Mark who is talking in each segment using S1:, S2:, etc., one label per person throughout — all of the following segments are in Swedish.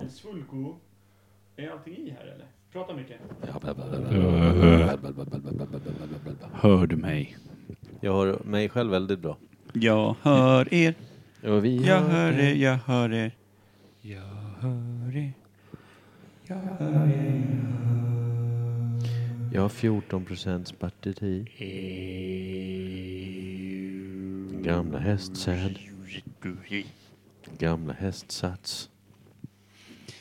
S1: En svulko. Är allting i här eller? Prata mycket.
S2: Hör du mig?
S3: Jag hör mig själv väldigt bra.
S2: Jag hör er.
S3: Och vi
S2: Jag hör er. Jag hör er. Jag hör er.
S3: Jag har 14 procents batteri. Gamla hästsäd. Gamla hästsats.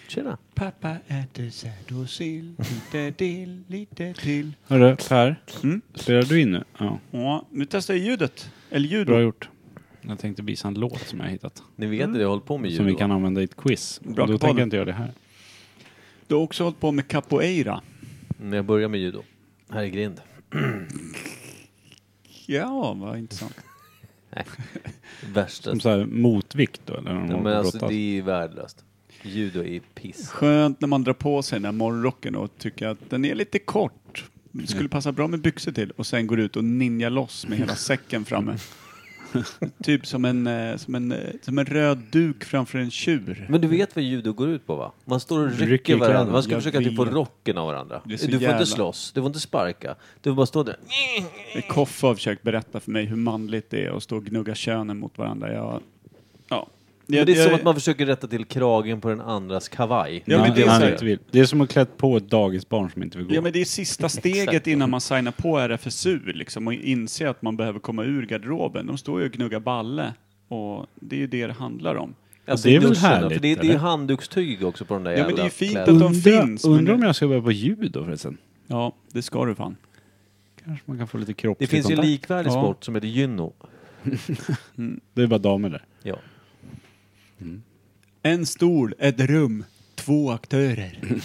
S3: Tjena.
S2: Pappa äter säd och sill. Lite till, lite till.
S4: Hörru, Per.
S2: Mm.
S4: Spelar du in nu? Ja,
S2: Ja, nu testar jag ljudet. Eller
S4: bra
S2: ljud.
S4: gjort. Jag tänkte visa en låt som jag har hittat.
S3: Ni vet
S2: Mm.
S3: att jag har hållit på med
S4: Som vi
S3: ljud.
S4: kan använda i ett quiz.
S2: Bra, ta
S4: Då tänker
S2: den.
S4: jag inte göra det här.
S2: Du har också hållit på med capoeira.
S3: När jag börjar med judo. Här är grind.
S2: Ja, vad intressant.
S3: Värsta.
S4: Som så här motvikt då, eller när de
S3: Nej,
S4: håller på
S3: Men
S4: och
S3: alltså
S4: brottas.
S3: det är värdelöst. Judo är piss.
S2: Skönt när man drar på sig den här morgonrocken och tycker att den är lite kort. Det skulle passa bra med byxor till och sen går ut och ninja loss med hela säcken framme. typ som en, eh, som, en, eh, som en röd duk framför en tjur.
S3: Men du vet vad judo går ut på va? Man står och rycker,
S4: Rycker i
S3: varandra.
S4: kläderna.
S3: Man ska
S2: Jag
S3: försöka typ få
S2: vet.
S3: rocken av varandra.
S2: Det är
S3: Du
S2: så
S3: får
S2: jävla-
S3: inte slåss, du får inte sparka. Du får bara stå där.
S2: Koffe har försökt berätta för mig hur manligt det är att stå och gnugga könen mot varandra. Jag, ja.
S3: Men
S2: Jag-
S3: det är som
S2: jag-
S3: att man föförsöker rätta till kragen på den andras kavaj.
S2: Ja, men
S4: Nej,
S2: det är
S4: han
S2: så här-
S4: inte vill. det är som att klä på ett dagisbarn som inte vill gå.
S2: Ja men det är sista steget innan man signar på RFSU liksom och inser att man behöver komma ur garderoben. De står ju och gnuggar balle och det är ju det det handlar om.
S3: Alltså,
S4: det är
S3: i
S4: väl
S3: duschen,
S4: härligt,
S3: För det, det är ju
S4: eller?
S3: handdukstyg också på de där
S2: Ja, men det är ju
S3: jävla
S2: fint
S3: kläderna.
S2: att- de
S4: Undra-
S2: finns, men
S4: Undrar om
S2: det-
S4: jag ska börja på ljud då förresten.
S2: Ja, det ska du fan.
S4: Kanske man kan få lite
S3: Det
S4: kroppslig
S3: finns ju en
S4: kontakt.
S3: likvärdig
S2: Ja.
S3: sport som heter gynno.
S4: Det är bara damer där.
S3: Ja.
S2: En stol, ett rum, två aktörer.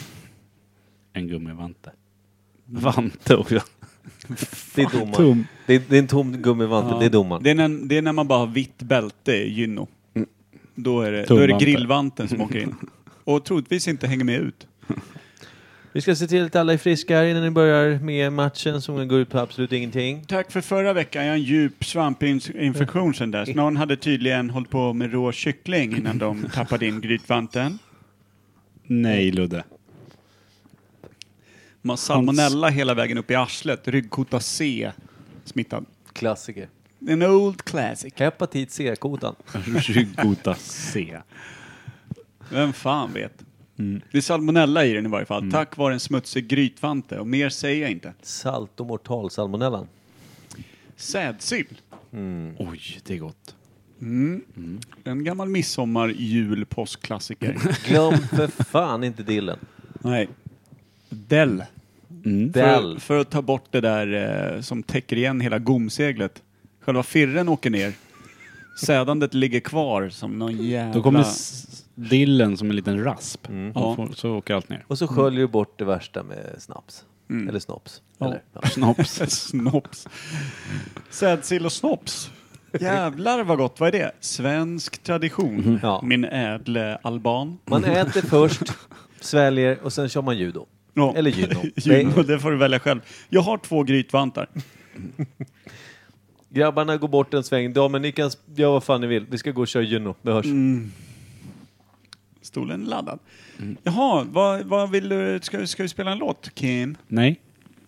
S4: En gummivante. Vante också.
S3: Det är domaren.
S4: Tum.
S3: Det är, det är en tom gummivantel, det är domaren. Mm.
S2: Det är, när, det är när man bara har vitt bälte i gynno. Då är, det, då är det
S4: Tumvanten.
S2: grillvanten som åker in. Och troligtvis inte hänger med ut.
S3: Vi ska se till att alla är friska här innan ni börjar med matchen som går ut på absolut ingenting.
S2: Tack för förra veckan. Jag har en djup svampinfektion sen dess. Någon hade tydligen hållit på med rå kyckling innan de tappade in grytvanten.
S4: Nej Ludde.
S2: Man har salmonella hela vägen upp i arslet, ryggkota C smittad.
S3: Klassiker.
S2: En old classic.
S3: Hepatit C-kotan.
S4: Ryggota C.
S2: Vem fan vet? Det är salmonella i den i varje fall, tack vare en smutsig grytvante och mer säger jag inte.
S3: Salt och mortalsalmonellan.
S2: Sädsill.
S3: Mm.
S4: Oj, det är gott.
S2: En gammal midsommar, jul, påskklassiker.
S3: Glöm för fan inte dillen.
S2: Nej. Dell. För,
S3: Dell.
S2: för att ta bort det där eh, som täcker igen hela gomseglet. Själva firren åker ner. Sädandet ligger kvar som någon jävla...
S4: Då kommer s- dillen som en liten rasp.
S2: Ja.
S4: Och får, så åker allt ner.
S3: Och så sköljer du bort det värsta med snaps.
S2: Mm.
S3: Eller snops. Eller, ja.
S4: Snopps.
S2: Snops. Sädsill och snops. Jävlar vad gott, vad är det? Svensk tradition,
S3: Ja.
S2: min ädle alban.
S3: Man äter först, sväljer och sen kör man judo.
S2: Ja.
S3: Eller gynno.
S2: Juno,
S3: Nej,
S2: det får du välja själv. Jag har två grytvantar.
S3: Grabbarna går bort en sväng. Damen, ni kan sp- göra vad fan ni vill. Vi ska gå och köra gynno. Vi hörs.
S2: Mm. Stolen laddad. Jaha, vad, vad vill du? Ska, ska vi spela en låt, Kim?
S4: Nej,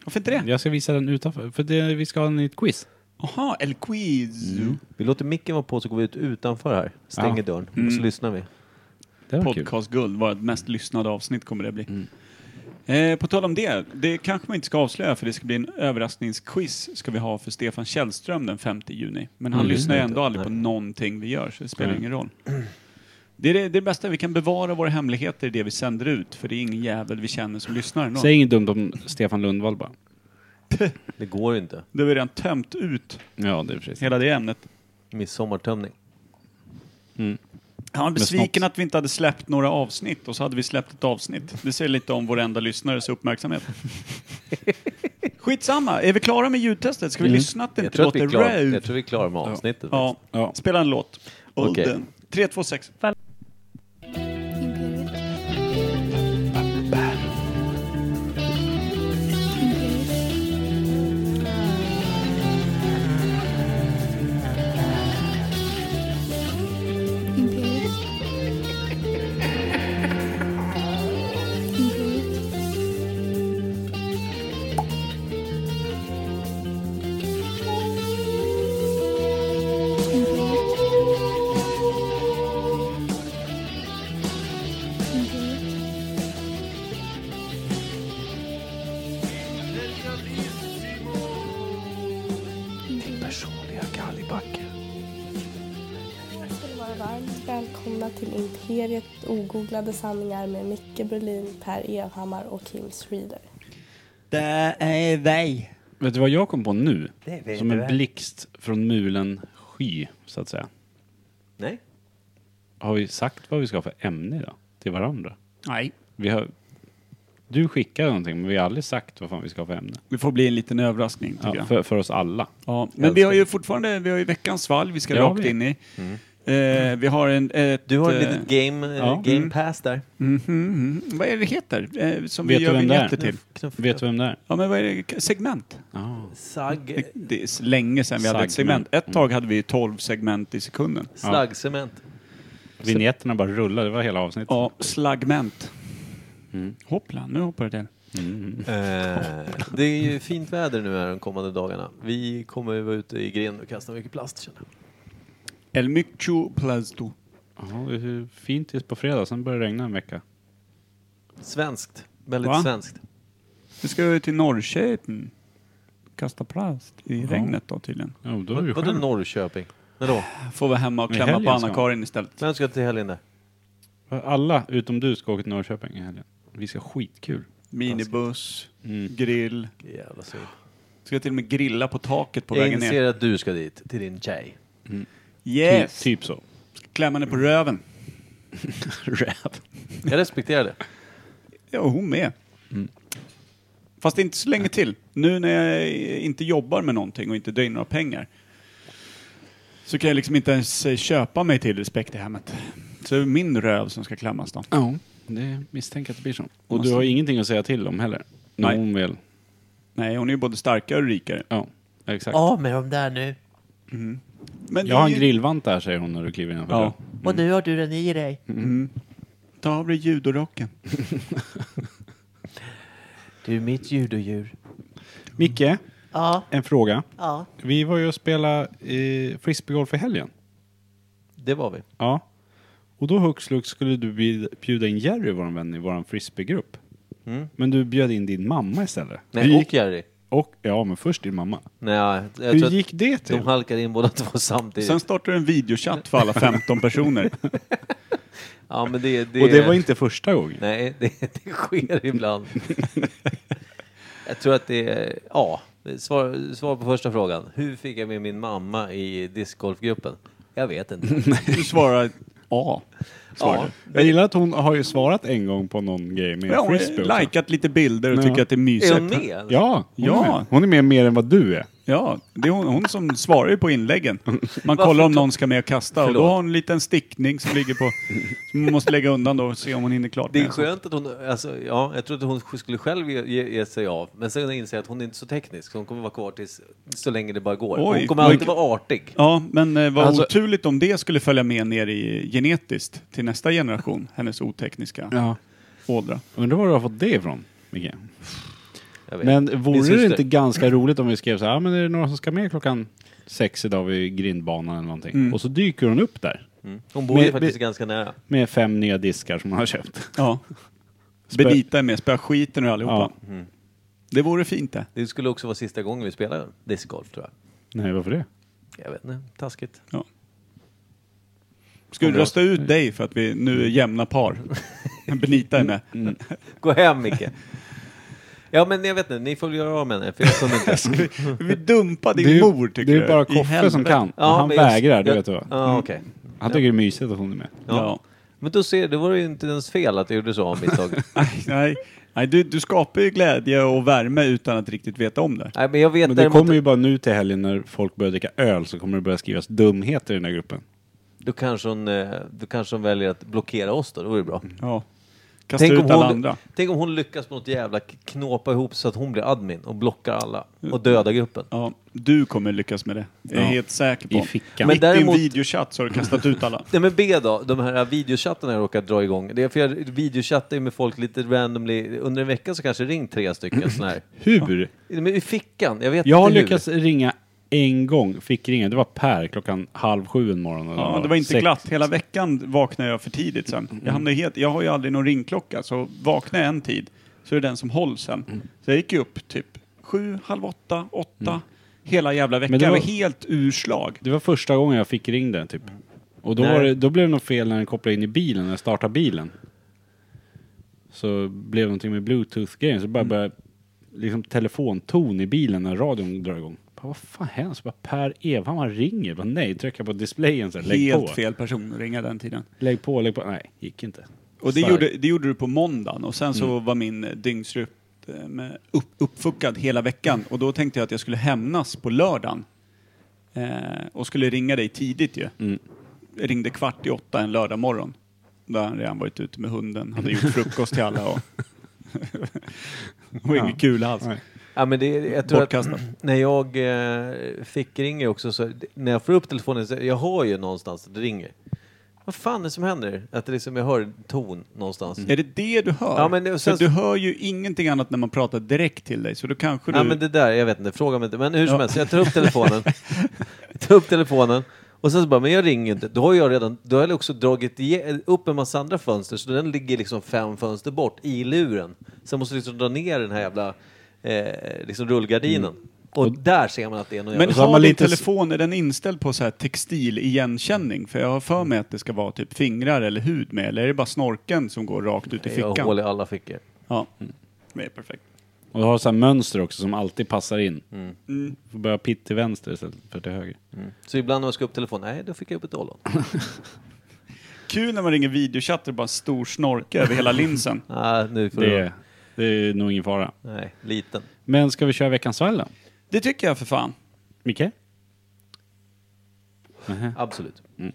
S2: Varför inte det?
S4: jag ska visa den utanför. För det, vi ska ha en i ett quiz.
S2: Jaha, El Quiz.
S3: Vi låter micken vara på så går vi ut utanför här. Stänger
S4: Ja.
S3: dörren och
S2: Mm.
S3: så lyssnar vi.
S4: Det var kul. Mm.
S2: Podcastguld, vårt mest lyssnade avsnitt kommer det bli. Eh, på tal om det, det kanske man inte ska avslöja för det ska bli en överraskningsquiz ska vi ha för Stefan Källström den 5 juni. Men han lyssnar ju ändå aldrig på någonting vi gör så det spelar
S4: Mm. Nej.
S2: ingen roll. Det är det, det är det bästa, vi kan bevara våra hemligheter i det vi sänder ut för det är ingen jävel vi känner som lyssnar. Någon.
S4: Säg inget dumt om Stefan Lundvall bara.
S3: Det går ju inte.
S2: Då har vi redan tömt ut
S4: Ja, det är precis.
S2: hela det ämnet.
S3: Midsommartömning.
S2: Han var besviken
S4: snops.
S2: att vi inte hade släppt några avsnitt och så hade vi släppt ett avsnitt. Det säger lite om vår enda lyssnares uppmärksamhet. Skitsamma, är vi klara med ljudtestet? Ska vi lyssna att det
S3: Mm. Jag
S2: inte
S3: tror, att vi
S2: låter
S3: är klara,
S2: rave?
S3: jag tror vi är klara med avsnittet.
S2: Ja,
S4: Ja.
S2: spela en låt.
S3: Okej.
S2: Olden. 3, 2, 6.
S5: Imperiet. Imperiet. Imperiet. till Imperiet ogooglade sanningar med Micke Berlin, Per Evhammar och Kim Schreeder.
S6: Det är dig.
S4: Vet du vad jag kom på nu?
S6: Det vet
S4: Som en
S6: jag.
S4: blixt från mulen sky, så att säga.
S3: Nej.
S4: Har vi sagt vad vi ska ha för ämne idag? Till varandra?
S2: Nej.
S4: Vi har... Du skickade någonting, men vi har aldrig sagt vad fan vi ska ha för ämne.
S2: Det får bli en liten överraskning tycker
S4: Ja,
S2: jag.
S4: för, för oss alla.
S2: Ja, men vi har ju fortfarande, vi har ju veckans svalg vi ska
S4: Ja,
S2: rakt
S4: vi-
S2: in i. Eh, vi har en... Ett,
S3: Mm. Du har ett
S2: eh,
S3: litet game, eh,
S4: ja.
S3: game pass där.
S2: mhm, mhm. Vad är det heter? Eh, som
S4: Vet
S2: vi
S4: du
S2: gör
S4: vem det är?
S2: vinjetter till.
S3: Knuff-
S4: Vet du vem det är?
S2: Ja, men vad är det? Segment.
S3: Sagg...
S2: Det, det är s- länge sedan vi hade ett
S4: Segment.
S2: segment. Ett tag hade vi 12 segment i sekunden.
S3: Slaggcement.
S4: Vinjetterna bara rullar, det var hela avsnittet.
S2: Ja, slagment.
S4: Mm.
S2: Hoppla, nu hoppar det till.
S4: Mm.
S3: Eh, det är ju fint väder nu här de kommande dagarna. Vi kommer ju vara ute i grind och kasta mycket plast känner jag.
S2: El Micho Plasto.
S4: Ja, det är fint tills på fredag, sen börjar det regna en vecka.
S3: Svenskt. Väldigt
S2: Va?
S3: svenskt.
S2: Nu ska vi till Norrköping. Kasta plast i
S4: Ja.
S2: regnet då tydligen.
S4: Ja, då är det ju
S3: Vadå
S4: skönt.
S3: Norrköping? När då?
S2: Får vi hemma och
S4: Men
S2: klämma på
S4: helgen ska-
S2: Anna-Karin istället.
S3: Vem ska till helgen där?
S4: Alla utom du ska åka till Norrköping i helgen. Vi ska ha skitkul.
S2: Minibuss,
S4: Mm.
S2: grill.
S3: Jävla synd.
S2: Ska till och med grilla på taket på
S3: Jag
S2: vägen
S3: inser
S2: ner.
S3: att du ska dit, till din tjej.
S2: Yes!
S4: Typ, typ så.
S2: Klämma henne på röven.
S4: Rap.
S3: Jag respekterar det.
S2: Ja, och hon med. Fast inte så länge till. Nu när jag inte jobbar med någonting och inte drar in några pengar så kan jag liksom inte ens eh, köpa mig till respekt i hemmet. Så det är min röv som ska klämmas då.
S4: Ja, det misstänker att det blir så. Och
S2: Måste-
S4: du har ingenting att säga till om heller. När
S2: Nej.
S4: hon väl...
S2: Nej, hon är ju både starkare och rikare.
S4: Ja, exakt.
S7: Av med dem där nu.
S2: Men
S4: Jag har
S2: det
S4: en
S2: är ju-
S4: grillvant där, säger hon när du kliver innanför.
S2: Ja.
S4: Ja.
S7: Och nu har du den i dig.
S2: Ta av dig judorocken.
S3: Du är mitt judodjur.
S4: Micke,
S7: Ja,
S4: en fråga.
S7: ja.
S4: Vi var ju och spelade eh, frisbeegolf i helgen.
S3: Det var vi.
S4: Ja. Och då hux flux skulle du bjud- bjuda in Jerry, vår vän, i vår frisbeegrupp.
S3: Mm.
S4: Men du bjöd in din mamma istället. Hur
S3: Nej,
S4: gick-
S3: och Jerry.
S4: och Ja, men först din mamma.
S3: Nej, jag
S4: Hur
S3: tror att
S4: gick det till?
S3: de halkade in båda två samtidigt.
S2: Sen startar du en videochatt för alla 15 personer.
S3: Ja, men det, det...
S4: Och det var inte första gången.
S3: Nej, det, det sker ibland. jag tror att det är... Ja, svar, svar på första frågan. Hur fick jag med min mamma i discgolfgruppen? Jag vet inte.
S2: Du svarar A.
S3: ja,
S4: Jag gillar att hon har ju svarat en gång på någon grej med
S2: Ja, hon
S4: frisbee. också.
S2: har likat lite bilder och
S4: Ja.
S2: tycker att det är mysigt.
S3: är hon med?
S4: Ja, hon,
S2: Ja.
S4: Är med. hon är med mer än vad du är.
S2: Ja, det är hon, hon som svarar ju på inläggen. Man kollar om någon ska med och kasta och då
S3: Förlåt.
S2: har hon en liten stickning som ligger på... Som man måste lägga undan då och se om hon hinner klart
S3: Det är
S2: med.
S3: skönt att hon... Alltså, ja, jag trodde hon skulle själv ge, ge, ge sig av. Men sen inser jag att hon är inte så teknisk. Så hon kommer vara kvar tills, så länge det bara går.
S2: Oj,
S3: hon kommer
S2: oj.
S3: alltid vara artig.
S2: Ja, men eh, vad
S3: Alltså-
S2: oturligt om det skulle följa med ner i genetiskt till nästa generation, hennes otekniska
S4: Ja.
S2: ådra.
S4: Undrar var du har fått det ifrån, Micke.
S3: Jag vet.
S4: Men
S3: Min
S4: vore det
S3: syster-
S4: inte ganska roligt om vi skrev så här, "Ja, men är det några som ska med klockan sex idag vid grindbanan eller någonting?
S2: Mm.
S4: Och så dyker hon upp där
S3: Hon bor ju
S4: Men-
S3: faktiskt
S4: men-
S3: ganska nära.
S4: med fem nya diskar som hon har köpt.
S2: Ja. Benita är med, spöa skiten ur allihopa. Det vore fint det.
S3: Det skulle också vara sista gången vi spelar discgolf tror jag.
S4: Nej, varför det?
S3: Jag vet inte, taskigt.
S2: Ja. Ska vi rösta ut dig för att vi nu är jämna par? Benita är med.
S3: Mm. Gå hem Micke. Ja men jag vet inte, ni får väl göra av med henne för jag kunde inte.
S2: Ska vi, vi dumpa din
S4: det är,
S2: mor tycker
S4: det
S2: du?
S4: är bara
S2: I
S4: Koffe
S2: helvete.
S4: som kan.
S3: Ja,
S4: han
S3: men just-
S4: vägrar, det
S3: jag-
S4: vet du va?
S3: Ja okej.
S4: Han tycker det är mysigt att hon är med.
S3: Ja.
S2: Ja.
S3: Men då ser det var det ju inte ens fel att jag gjorde så av misstag.
S2: Nej, nej. nej du, du skapar ju glädje och värme utan att riktigt veta om det.
S3: Nej men jag vet
S4: Men det
S3: däremot,
S4: kommer ju bara nu till helgen när folk börjar dricka öl så kommer det börja skrivas dumheter i den här gruppen.
S3: då, kanske hon, eh, då kanske hon väljer att blockera oss då, det vore bra.
S2: Ja. Mm. Kasta ut alla andra.
S3: tänk om hon lyckas med något jävla k- knåpa ihop så att hon blir admin och blockar alla och dödar gruppen.
S2: Ja, du kommer lyckas med det. Jag är
S4: Ja.
S2: helt säker på.
S4: I fickan.
S2: Men Mitt
S3: däremot-
S2: i en videochatt så har du kastat ut alla.
S3: Nej men B då, de här videochattarna jag råkat dra igång. Det är för jag videochattar ju med folk lite randomly. Under en vecka så kanske det ringt tre stycken sådana här.
S4: Hur?
S3: Men i fickan, jag vet
S4: Jag har
S3: inte hur.
S4: lyckats ringa en gång, fick ringa, det var Per klockan halv sju en morgon. och
S2: Ja, det var inte
S4: sex- Mm.
S2: glatt. Hela veckan vaknade jag för tidigt sen. Jag, hamnade helt, jag har ju aldrig någon ringklocka, så vaknar jag en tid så är det den som hålls
S4: Mm.
S2: sen. Så jag gick ju upp typ sju, halv åtta, åtta. Hela jävla veckan.
S4: det
S2: Jag
S4: var-
S2: var helt urslag.
S4: Det var första gången jag fick ring den typ. Och då,
S3: Nej.
S4: var det, då blev det något fel när den kopplade in i bilen, när jag startade bilen. Så blev det någonting med bluetooth-grejen, så bara
S2: Mm.
S4: började liksom telefonton i bilen när radion drar igång. Bara, vad fan händer? Så bara Per Evhammar ringer. Jag Bara, nej, trycka på displayen så här, lägg
S2: Helt
S4: på.
S2: fel person att ringa den tiden.
S4: Lägg på, lägg på. Nej, gick inte.
S2: Och det
S4: Stark.
S2: gjorde, det gjorde du på måndagen och sen så var min eh, dygnsrytm eh, med- upp, uppfuckad hela veckan och då tänkte jag att jag skulle hämnas på lördagen. Eh, och skulle ringa dig tidigt ju. Jag ringde kvart i åtta en lördag morgon. Då hade han redan varit ute med hunden, hade gjort frukost till alla och... och inget kul alls.
S3: Ja, men det, jag tror att
S2: Bortkastat.
S3: när jag eh, fick ringer också, så, när jag får upp telefonen, så, jag hör ju någonstans att det ringer. Vad fan är det som händer? Att det liksom, jag hör en ton någonstans.
S2: Är det det du hör?
S3: Ja, men det-
S2: För
S3: sen-
S2: du hör ju ingenting annat när man pratar direkt till dig, så då kanske
S3: Ja,
S2: du...
S3: men det där, jag vet inte, fråga mig inte. Men hur som helst, jag tar upp telefonen. Jag tar upp telefonen. Och sen så bara, men jag ringer inte. Då har jag redan, då har jag också dragit ige- upp en massa andra fönster, så den ligger liksom fem fönster bort i luren. Sen måste jag liksom dra ner den här jävla eh, liksom rullgardinen. Och där ser man att det är någon
S2: Mm. Men
S3: jävla...
S4: så har
S2: har
S4: man
S2: din
S4: lite s-
S2: telefon, är den inställd på så här textiligenkänning? För jag har för mig att det ska vara typ fingrar eller hud med, eller är det bara snorken som går rakt ut i
S3: Jag har hål
S2: fickan?
S3: i alla fickor.
S2: Ja, det är perfekt.
S4: Och du har så här mönster också som alltid passar in.
S2: Mm.
S4: Får börja pitt till vänster istället för till höger.
S3: Så ibland när jag ska upp telefonen, nej då fick jag upp ett ollon.
S2: Kul när man ringer videochatt och bara stor snorke över hela linsen.
S3: Nej, nu får
S4: Det,
S3: du...
S4: är- det är nog ingen fara.
S3: Nej, liten.
S4: Men ska vi köra veckans svalg då?
S2: Det tycker jag för fan.
S4: Micke?
S3: Absolut.
S2: Mm.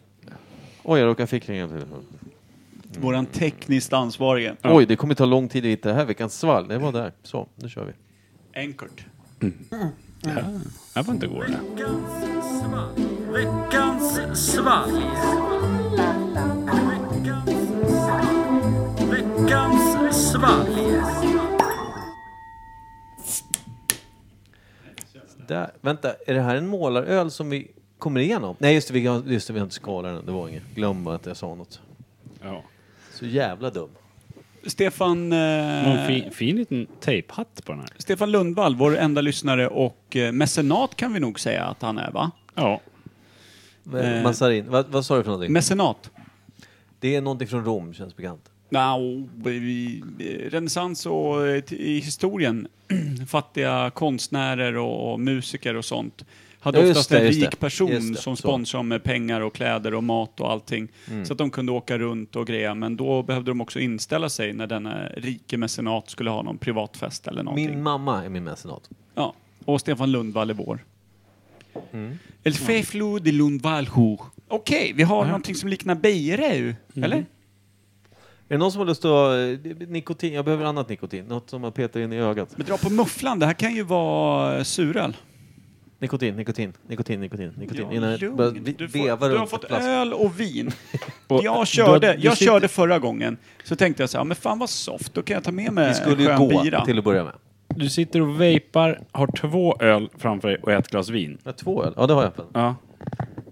S3: Oj, jag råkade fick ringa telefonen.
S2: Våran tekniskt ansvarige.
S3: Oj, det kommer ta lång tid att hitta det här veckans svalg. Det var där. Så, nu kör vi.
S2: Enkelt.
S4: Jag var inte god den här.
S3: Där. Vänta, är det här en målaröl som vi kommer igenom? Nej, just det, vi, har- just det, vi har inte skalat den. Det var inget. Glöm bara att jag sa något.
S4: Ja.
S3: Så jävla dum.
S2: Stefan,
S4: Någon
S2: eh,
S4: fin, fin liten tejphatt på den här.
S2: Stefan Lundvall, vår enda lyssnare och eh, mecenat kan vi nog säga att han är va?
S4: Ja.
S3: Eh. Massarin, vad, vad sa du för någonting?
S2: Mecenat.
S3: det är någonting från Rom, känns bekant.
S2: No, vi, renässans och eh, t- i historien, fattiga konstnärer och, och musiker och sånt, hade
S3: Ja, just
S2: oftast
S3: det,
S2: en
S3: just
S2: rik
S3: det.
S2: person
S3: Just det,
S2: som
S3: så. Mm.
S2: sponsrade med pengar och kläder och mat och allting. Så att de kunde åka runt och greja, men då behövde de också inställa sig när denna rike mecenat skulle ha någon privatfest eller någonting.
S3: Min mamma är min mecenat.
S2: Ja, och Stefan Lundvall är vår.
S3: Mm.
S2: El Feflo de Lundvallho. Okej, vi har någonting som liknar Beireu, eller?
S3: Är det någon som har lust att... eh, Nikotin? Jag behöver annat nikotin. Något som man petar in i ögat.
S2: Men dra på mufflan, det här kan ju vara eh, suröl.
S3: Nikotin, nikotin, nikotin, nikotin, nikotin.
S2: Ja,
S3: Innan jag
S2: lugn.
S3: börjar vi-
S2: du,
S3: veva
S2: får, du har
S3: runt
S2: fått
S3: med flaskan.
S2: öl och vin.
S4: Och
S2: jag körde,
S4: du- du
S2: jag
S4: sitter-
S2: körde förra gången, så tänkte jag så här, men fan vad soft, då kan jag ta med mig
S3: Vi skulle ju
S2: skön
S3: gå
S2: bira.
S3: till att börja med.
S4: Du sitter och vejpar, har två öl framför dig och ett glas vin.
S3: Ja, två öl? Ja, det har jag öppen.
S4: Ja.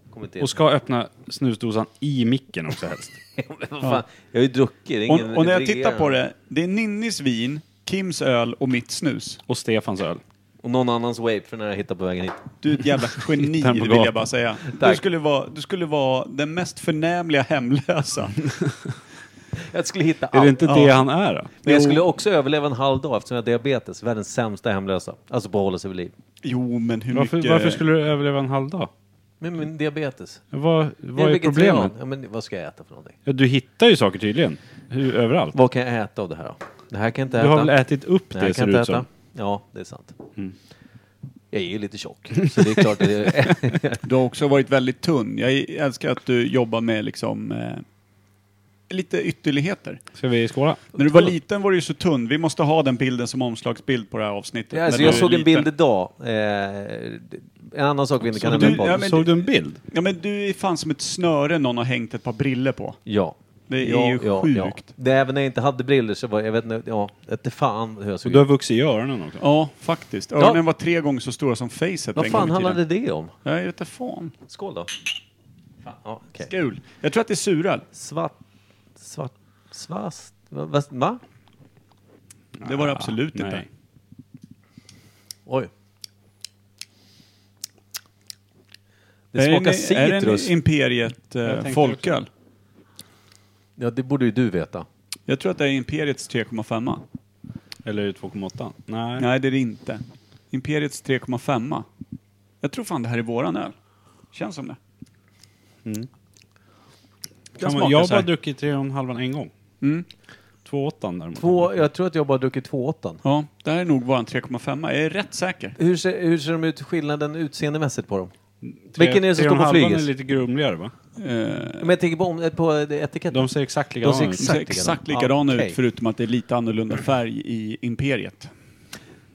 S3: Kommit in.
S4: Och ska öppna snusdosan i micken också helst.
S3: Men vad fan, Jag har ju druckit. det är
S2: Och,
S3: ingen-
S2: och när jag
S3: det är-
S2: tittar på det, det är Ninnis vin, Kims öl och mitt snus.
S4: Och Stefans öl.
S3: Och någon annans vape för när jag hittar på vägen hit.
S2: Du är ett jävla geni
S4: Hittar på
S2: vill
S4: gatan.
S2: jag bara säga. Du
S3: Tack.
S2: skulle, vara, du skulle vara den mest förnämliga hemlösa.
S3: Jag skulle hitta
S4: Är
S3: allt.
S4: det inte det han är då?
S3: Men jag skulle också överleva en halv dag eftersom jag har diabetes. Världens sämsta hemlösa. Alltså på att hålla sig vid liv.
S2: Jo, men hur
S4: Varför,
S2: mycket...
S4: varför skulle du överleva en halv dag?
S3: Men min diabetes.
S4: Vad, vad
S3: Jag
S4: är
S3: vegetarian.
S4: problemet?
S3: Ja, men vad ska jag äta för någonting?
S4: Ja, du hittar ju saker tydligen. Hur, överallt.
S3: Vad kan jag äta av det här då? Det här kan jag inte
S4: Du
S3: äta.
S4: har väl ätit upp
S3: det här
S4: det
S3: kan
S4: ser
S3: jag inte
S4: det ut
S3: äta.
S4: som.
S3: Ja, det är sant. Jag är ju lite tjock. Så det är klart att Alltså, det är...
S2: Du har också varit väldigt tunn. Jag älskar att du jobbar med liksom... Eh, lite ytterligheter.
S4: Ska vi skåla?
S2: När du var liten var du ju så tunn. Vi måste ha den bilden som omslagsbild på det här avsnittet.
S3: Ja, alltså,
S2: När
S3: jag
S2: du är
S3: såg en
S2: liten.
S3: bild idag. Eh, en annan sak vi inte kan
S2: du-
S3: nämna i
S2: ja,
S3: podden.
S2: men
S4: Såg
S2: det-
S4: du en bild?
S2: Ja, men du är fan som ett snöre någon har hängt ett par briller på.
S3: Ja.
S2: Det är
S3: ja,
S2: ju
S3: ja,
S2: sjukt.
S3: Ja. Det, även när jag inte hade briller så var jag vet inte, ja, inte fan hur jag såg
S4: Du har
S3: ut.
S4: vuxit i öronen också.
S2: Ja, faktiskt. Öronen var tre gånger så stora som facet
S3: Vad
S2: en
S3: fan
S2: gång i tiden.
S3: handlade det om?
S2: Ja, Jag vet inte fan.
S3: Skål då. Fan, ja, okej.
S2: Kul. Jag tror att det är suröl.
S3: Svart, svart, svast, va? va, va?
S2: Det
S3: Ah,
S2: var det absolut
S4: nej.
S2: inte.
S3: Oj. Det smakar
S2: är det en, är
S3: citrus.
S2: det en Imperiet eh,
S1: Jag tänkte
S2: folköl?
S3: Ja, det borde ju du veta.
S2: Jag tror att det är Imperiets 3,5.
S4: Eller 2,8? Nej.
S2: Nej, det är det inte. Imperiets 3,5. Jag tror fan det här är våran öl. Känns som det.
S4: Mm. Kan man,
S2: smakar
S4: jag har
S2: så här.
S4: bara druckit 3,5 en gång.
S2: Mm.
S4: 2,8 däremot.
S3: Två, jag tror att jag bara druckit två åttan.
S2: Ja, det här är nog våran 3,5. Jag är rätt säker.
S3: Hur ser, hur ser de ut, skillnaden utseendemässigt på dem?
S4: Tre-
S3: Vilken är det som står på
S4: 3,5
S3: flyget?
S4: är lite grumligare va?
S2: Eh,
S3: Men jag tänker på, om- på etiketten.
S4: De ser exakt likadana
S3: ser
S4: ut.
S2: de ser exakt likadana
S3: Okej.
S2: ut förutom att det är lite annorlunda färg i Imperiet.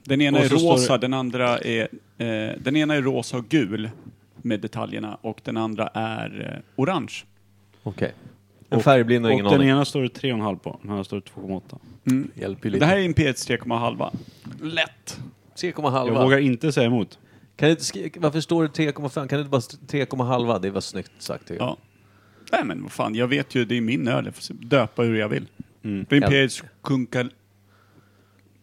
S2: Den ena
S4: Och
S2: är
S4: så står
S2: rosa, den andra är, eh, den ena är rosa och gul med detaljerna och den andra är eh, orange.
S3: Okej. En färgblind har ingen
S4: Och den
S3: aning.
S4: ena står det 3,5 på, den här står det 2,8.
S3: Hjälper
S2: Det
S3: ju lite.
S2: här är Imperiets 3,5. Lätt.
S3: 3,5.
S4: Jag vågar inte säga emot.
S3: Kan du inte skri- varför står det 3,5? Kan du inte bara st- 3,5? Det var snyggt sagt typ. tycker jag.
S2: Ja. Nej men vad fan, jag vet ju, det är min öl. Jag får döpa hur jag vill.
S3: Mm.
S2: För Imperiets kunkar...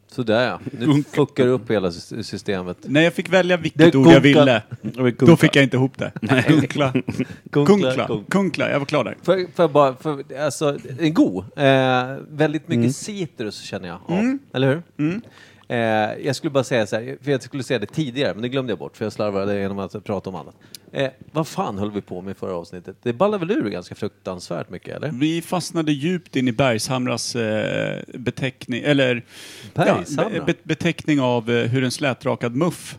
S3: Sådär ja. Nu
S2: Unka.
S3: fuckar du upp hela sy- systemet.
S2: Nej, jag fick välja
S3: Det
S2: vilket
S3: är
S2: ord jag
S3: kunkar.
S2: ville. Då fick jag inte ihop det. Kunkla.
S3: Kunkla,
S2: Kunkla.
S3: kunkla.
S2: Kunkla, jag var klar där.
S3: För, för bara, för, alltså, den är god. Eh, väldigt mycket citrus känner jag av. Eller hur? Eh, jag skulle bara säga så här, för jag skulle säga det tidigare, men det glömde jag bort för jag slarvade genom att prata om annat. Eh, vad fan höll vi på med i förra avsnittet? Det ballar väl ur ganska fruktansvärt mycket, eller?
S2: Vi fastnade djupt in i Bergshamras eh, beteckning, eller
S3: Bergshamra?
S2: Ja, be, beteckning av eh, hur en slätrakad muff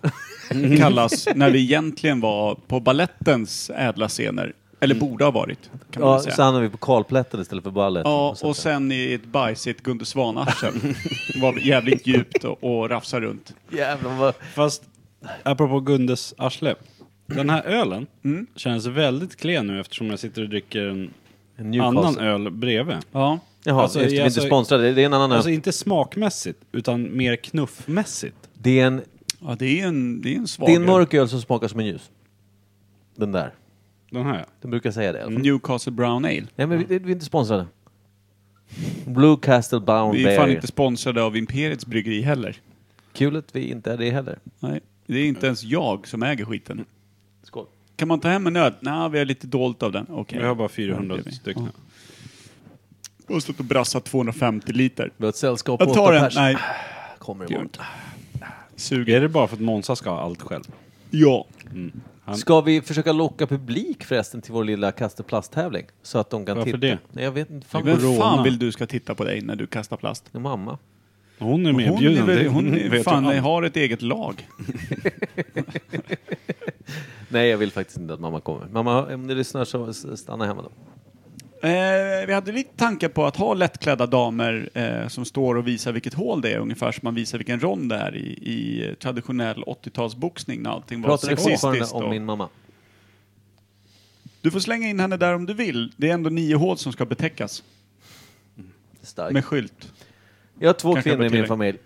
S2: kallas när vi egentligen var på ballettens ädla scener. Eller borde ha varit, kan man
S3: Ja,
S2: väl
S3: så
S2: säga.
S3: hamnade vi på kalplätten istället för ballet.
S2: Ja,
S3: Så att
S2: och
S3: säga.
S2: sen i ett bajsigt Gunde Svan-arsel. var jävligt djupt och, och rafsa runt.
S3: Jävlar vad...
S4: Fast, apropå Gundes arsle. Den här ölen känns väldigt klen nu eftersom jag sitter och dricker en
S3: En Newcastle.
S4: annan öl bredvid.
S2: Ja.
S3: Jaha,
S4: Alltså,
S3: just, det, vi är
S4: alltså-
S3: inte sponsrade. Det är en annan
S4: Alltså
S3: öl.
S4: inte smakmässigt, utan mer knuffmässigt.
S3: Det är en,
S2: ja, det är en, det är en svag
S3: det är en
S2: öl.
S3: mörk öl som smakar som en ljus. Den där.
S4: Den här.
S3: De brukar säga det i alla fall.
S2: Mm. Newcastle Brown Ale.
S3: Nej, men vi, vi är inte sponsrade. Blue Castle Bound
S2: Vi är fan
S3: Bear.
S2: inte sponsrade av Imperiets bryggeri heller.
S3: Kul att vi inte är det heller.
S2: Nej, det är inte ens jag som äger skiten.
S3: Skål.
S2: Kan man ta hem en öl? Nej, vi har lite dolt av den. Okej.
S4: Vi har bara
S2: Ja,
S4: 400
S2: det är vi.
S4: stycken.
S2: Ja. Och stått och brassat 250 liter.
S3: Vi har ett sällskap på
S2: Jag tar
S3: åtta
S2: en.
S3: pers. Ah,
S2: Nej,
S3: Kommer
S2: det gör
S3: imorgon.
S2: inte. Suger.
S4: Är det bara för att Monza ska ha allt själv?
S2: Ja.
S4: Han-
S3: Ska vi försöka locka publik förresten till vår lilla kasseplast-tävling? Så att de kan
S4: Varför
S3: titta.
S4: det?
S3: Nej, jag vet inte. Fan,
S2: Vem
S3: vad-
S2: fan vill du ska titta på dig när du kastar plast?
S3: Min mamma.
S4: Hon är medbjuden.
S2: är, väl-
S4: det
S2: hon
S4: vet
S2: är,
S4: ju
S2: fan,
S4: alla.
S2: ni har ett eget lag.
S3: Nej, jag vill faktiskt inte att mamma kommer. Mamma, om ni lyssnar så s- stanna hemma då.
S2: Eh, vi hade lite tankar på att ha lättklädda damer eh, som står och visar vilket hål det är ungefär som man visar vilken rond det är i, i traditionell 80-talsboxning när allting var
S3: Pratar du fortfarande
S2: sexistiskt.
S3: om
S2: och-
S3: min mamma?
S2: Du får slänga in henne där om du vill. Det är ändå nio hål som ska betäckas
S3: Stark.
S2: med skylt.
S3: Jag har två
S2: Kanske
S3: kvinnor i min
S2: tillägg.
S3: familj.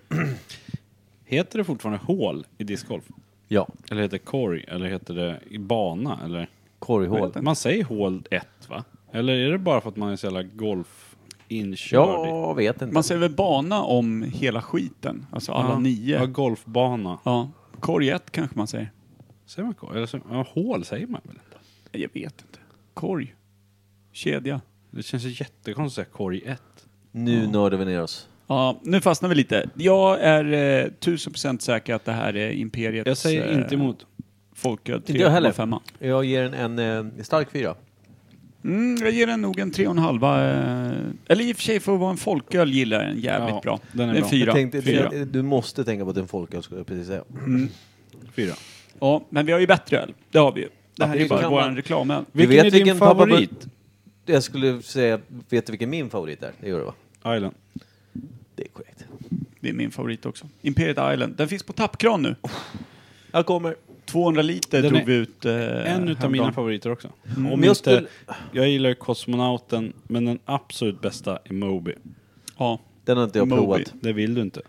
S4: Heter det fortfarande hål i discgolf?
S3: Ja,
S4: Eller heter det korg? Eller heter det i bana? Eller?
S3: korghål.
S4: Man säger hål 1 va? Eller är det bara för att man är så jävla golfinkörd? i-
S3: Jag vet inte.
S2: Man säger väl bana om hela skiten, alltså alla
S4: Ja. Ja,
S2: nio.
S4: golfbana.
S2: Ja. Korg ett kanske man säger.
S4: Säger man korg? Eller så, ja, hål säger man väl inte?
S2: Nej, Jag vet inte. Korg. Kedja.
S4: Det känns ju jättekonstigt att säga korg 1.
S3: Nu nördar vi ner oss.
S2: Ja, nu fastnar vi lite. Jag är eh, tusen procent säker att det här är Imperiets eh,
S4: Jag säger inte emot.
S2: folköl
S3: Inte jag heller.
S2: 3,5.
S3: Jag ger den en eh, stark fyra.
S2: Mm, jag ger den nog en 3,5. Eh, eller i och för sig, för att vara en folköl gillar jag den jävligt
S4: Ja,
S2: bra.
S4: den är
S2: en
S4: bra.
S2: fyra.
S3: Jag tänkte,
S2: fyra.
S3: det- Du måste tänka på att det är en folköl skulle jag precis säga.
S4: Fyra.
S2: Ja, men vi har ju bättre öl. Det har vi ju. Det här
S3: det
S2: är ju bara
S3: kan
S2: vår
S3: man-
S2: reklamöl.
S3: Du
S4: Vilken
S3: vet
S4: är din
S3: vilken pappa-
S4: favorit?
S3: Jag skulle säga, vet du vilken min favorit är? Det gör du va?
S4: Island.
S3: Det är korrekt.
S2: Det är min favorit också. Imperiet Island. Den finns på tappkran nu.
S3: Oh. Jag kommer.
S2: 200 liter
S4: Den
S2: drog
S4: är
S2: vi ut eh,
S4: En utav
S2: häromdagen. Mm.
S4: mina favoriter också. Om
S3: Men jag
S4: jag,
S3: skulle-
S4: inte, jag gillar ju kosmonauten, men den absolut bästa är Moby.
S2: Ja.
S3: Den har inte jag
S2: Moby.
S3: provat.
S4: Det vill du inte.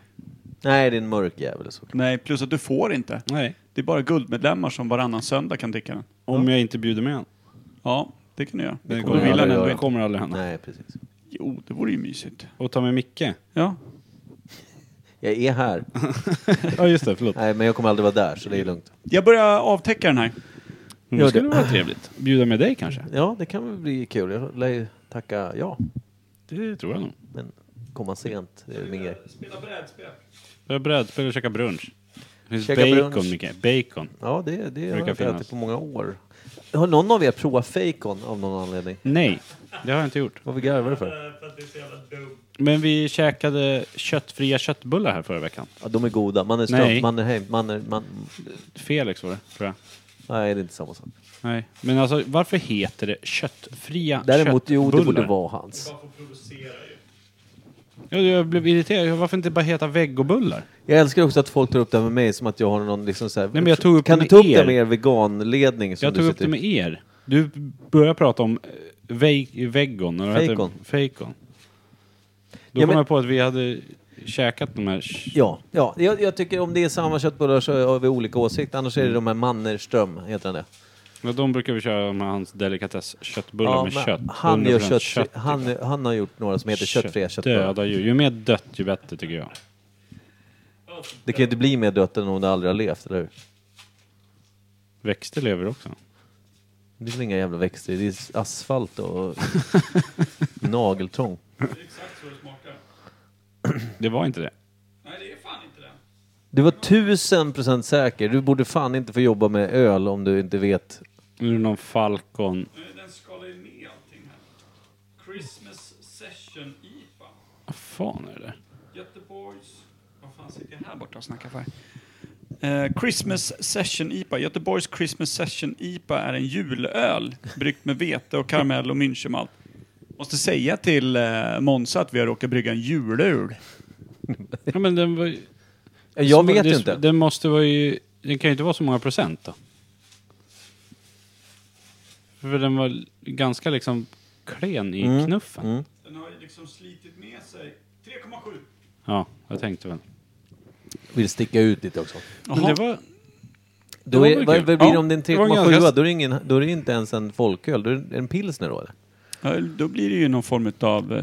S3: Nej, det är en mörk jävel. Så.
S2: Nej, plus att du får inte.
S4: Nej.
S2: Det är bara guldmedlemmar som varannan söndag kan dricka den.
S4: Om jag inte bjuder med den.
S2: Ja, det kan du göra.
S4: Det
S3: kommer
S4: kommer, vill
S3: aldrig
S4: han ändå.
S3: göra.
S4: Det kommer aldrig hända.
S3: Nej, precis.
S2: Jo, det vore ju mysigt.
S4: Och ta med Micke.
S2: Ja.
S3: Jag är här.
S4: Ja just det, förlåt.
S3: Nej, men jag kommer aldrig vara där, så det är lugnt.
S2: Jag börjar avtäcka den här.
S4: Men
S3: Gör
S4: det skulle
S3: det.
S4: vara trevligt. Bjuda med dig kanske?
S3: Ja, det kan väl bli kul. Jag lär ju tacka ja.
S4: Det tror jag nog.
S3: Men komma sent, det är min grej.
S1: Spela brädspel.
S4: Vi har brädspel och käka brunch. Det finns
S3: Käka
S4: bacon
S3: brunch.
S4: Micke. Bacon.
S3: Ja, det, det har
S4: Brukar
S3: jag inte
S4: finnas.
S3: ätit på många år. Har någon av er provat fejkon av någon anledning?
S4: Nej, det har jag inte gjort.
S3: Vad garvar du för?
S1: För att det är så jävla dumt.
S4: Men vi käkade köttfria köttbullar här förra veckan.
S3: Ja, de är goda. Man är
S4: Nej.
S3: stönt, man är hem, man är... Man...
S4: Felix var det, tror jag.
S3: Nej, det är inte samma sak.
S4: Nej, men alltså varför heter det köttfria
S3: Däremot, jo, det borde
S4: köttbullar?
S3: vara hans.
S1: Man får provocera ju.
S4: Ja, jag blev irriterad. Varför inte bara heta vegobullar?
S3: Jag älskar också att folk tar upp det här med mig som att jag har någon liksom så här,
S4: Nej, men jag tog upp
S3: Kan
S4: det
S3: du ta upp
S4: med
S3: det
S4: er.
S3: med er veganledning? Som
S4: Jag
S3: du
S4: tog upp
S3: sitter
S4: det
S3: i?
S4: med er. Du börjar prata om eh, ve- vegon. eller vad heter det?
S3: Fejkon.
S4: Fejkon. Då
S3: Ja,
S4: kom
S3: men-
S4: jag på att vi hade käkat de här... sh-
S3: Ja, ja. Jag, jag tycker om det är samma köttbullar så har vi olika åsikter. Annars är det de här Mannerström, heter han det?
S4: Ja, de brukar vi köra med hans delikatessköttbullar med
S3: men
S4: kött.
S3: Han, gör
S4: 100%
S3: kött, han, han har gjort några som heter köttfria köttbullar.
S4: Döda djur. Ju mer dött ju bättre tycker jag.
S3: Det kan ju inte bli mer dött än om det aldrig har levt, eller hur?
S4: Växter lever också.
S3: Det är väl inga jävla växter, det är asfalt och nageltrång.
S1: Det är exakt så det smakar.
S4: Det var inte det.
S1: Nej, det är fan inte det.
S3: Du var tusen procent säker. Du borde fan inte få jobba med öl om du inte vet.
S4: Nu är det någon falcon.
S1: Nej, Den skalar ju ner allting här. Christmas Session IPA.
S4: Vad fan är det?
S1: Göteborgs... Vad fan sitter jag här borta?
S2: borta och snackar för. Eh, Christmas Session IPA. Göteborgs Christmas Session IPA är en julöl bryggt med vete och karamell och münchenmalt. Måste säga till eh, Monza att vi har råkat brygga en julöl.
S4: Ja, men den var ju-
S3: Jag vet
S4: det,
S3: ju inte.
S4: Den måste vara ju... Den kan ju inte vara så många procent då. För den var ganska liksom klen i
S3: Mm,
S4: knuffen.
S1: Den har ju liksom slitit med sig. 3,7.
S4: Ja, jag tänkte väl.
S3: Vill sticka ut lite också.
S4: Men det var...
S3: Då
S4: var
S3: är,
S4: väl
S3: vad,
S4: kul.
S3: vad blir
S4: Ja,
S3: det om det är en
S4: det var en
S3: 3,7?
S4: ganska-
S3: Då, är det ingen- då är det inte ens en folköl, då är det en pilsner då eller?
S2: Ja, då blir det ju någon form av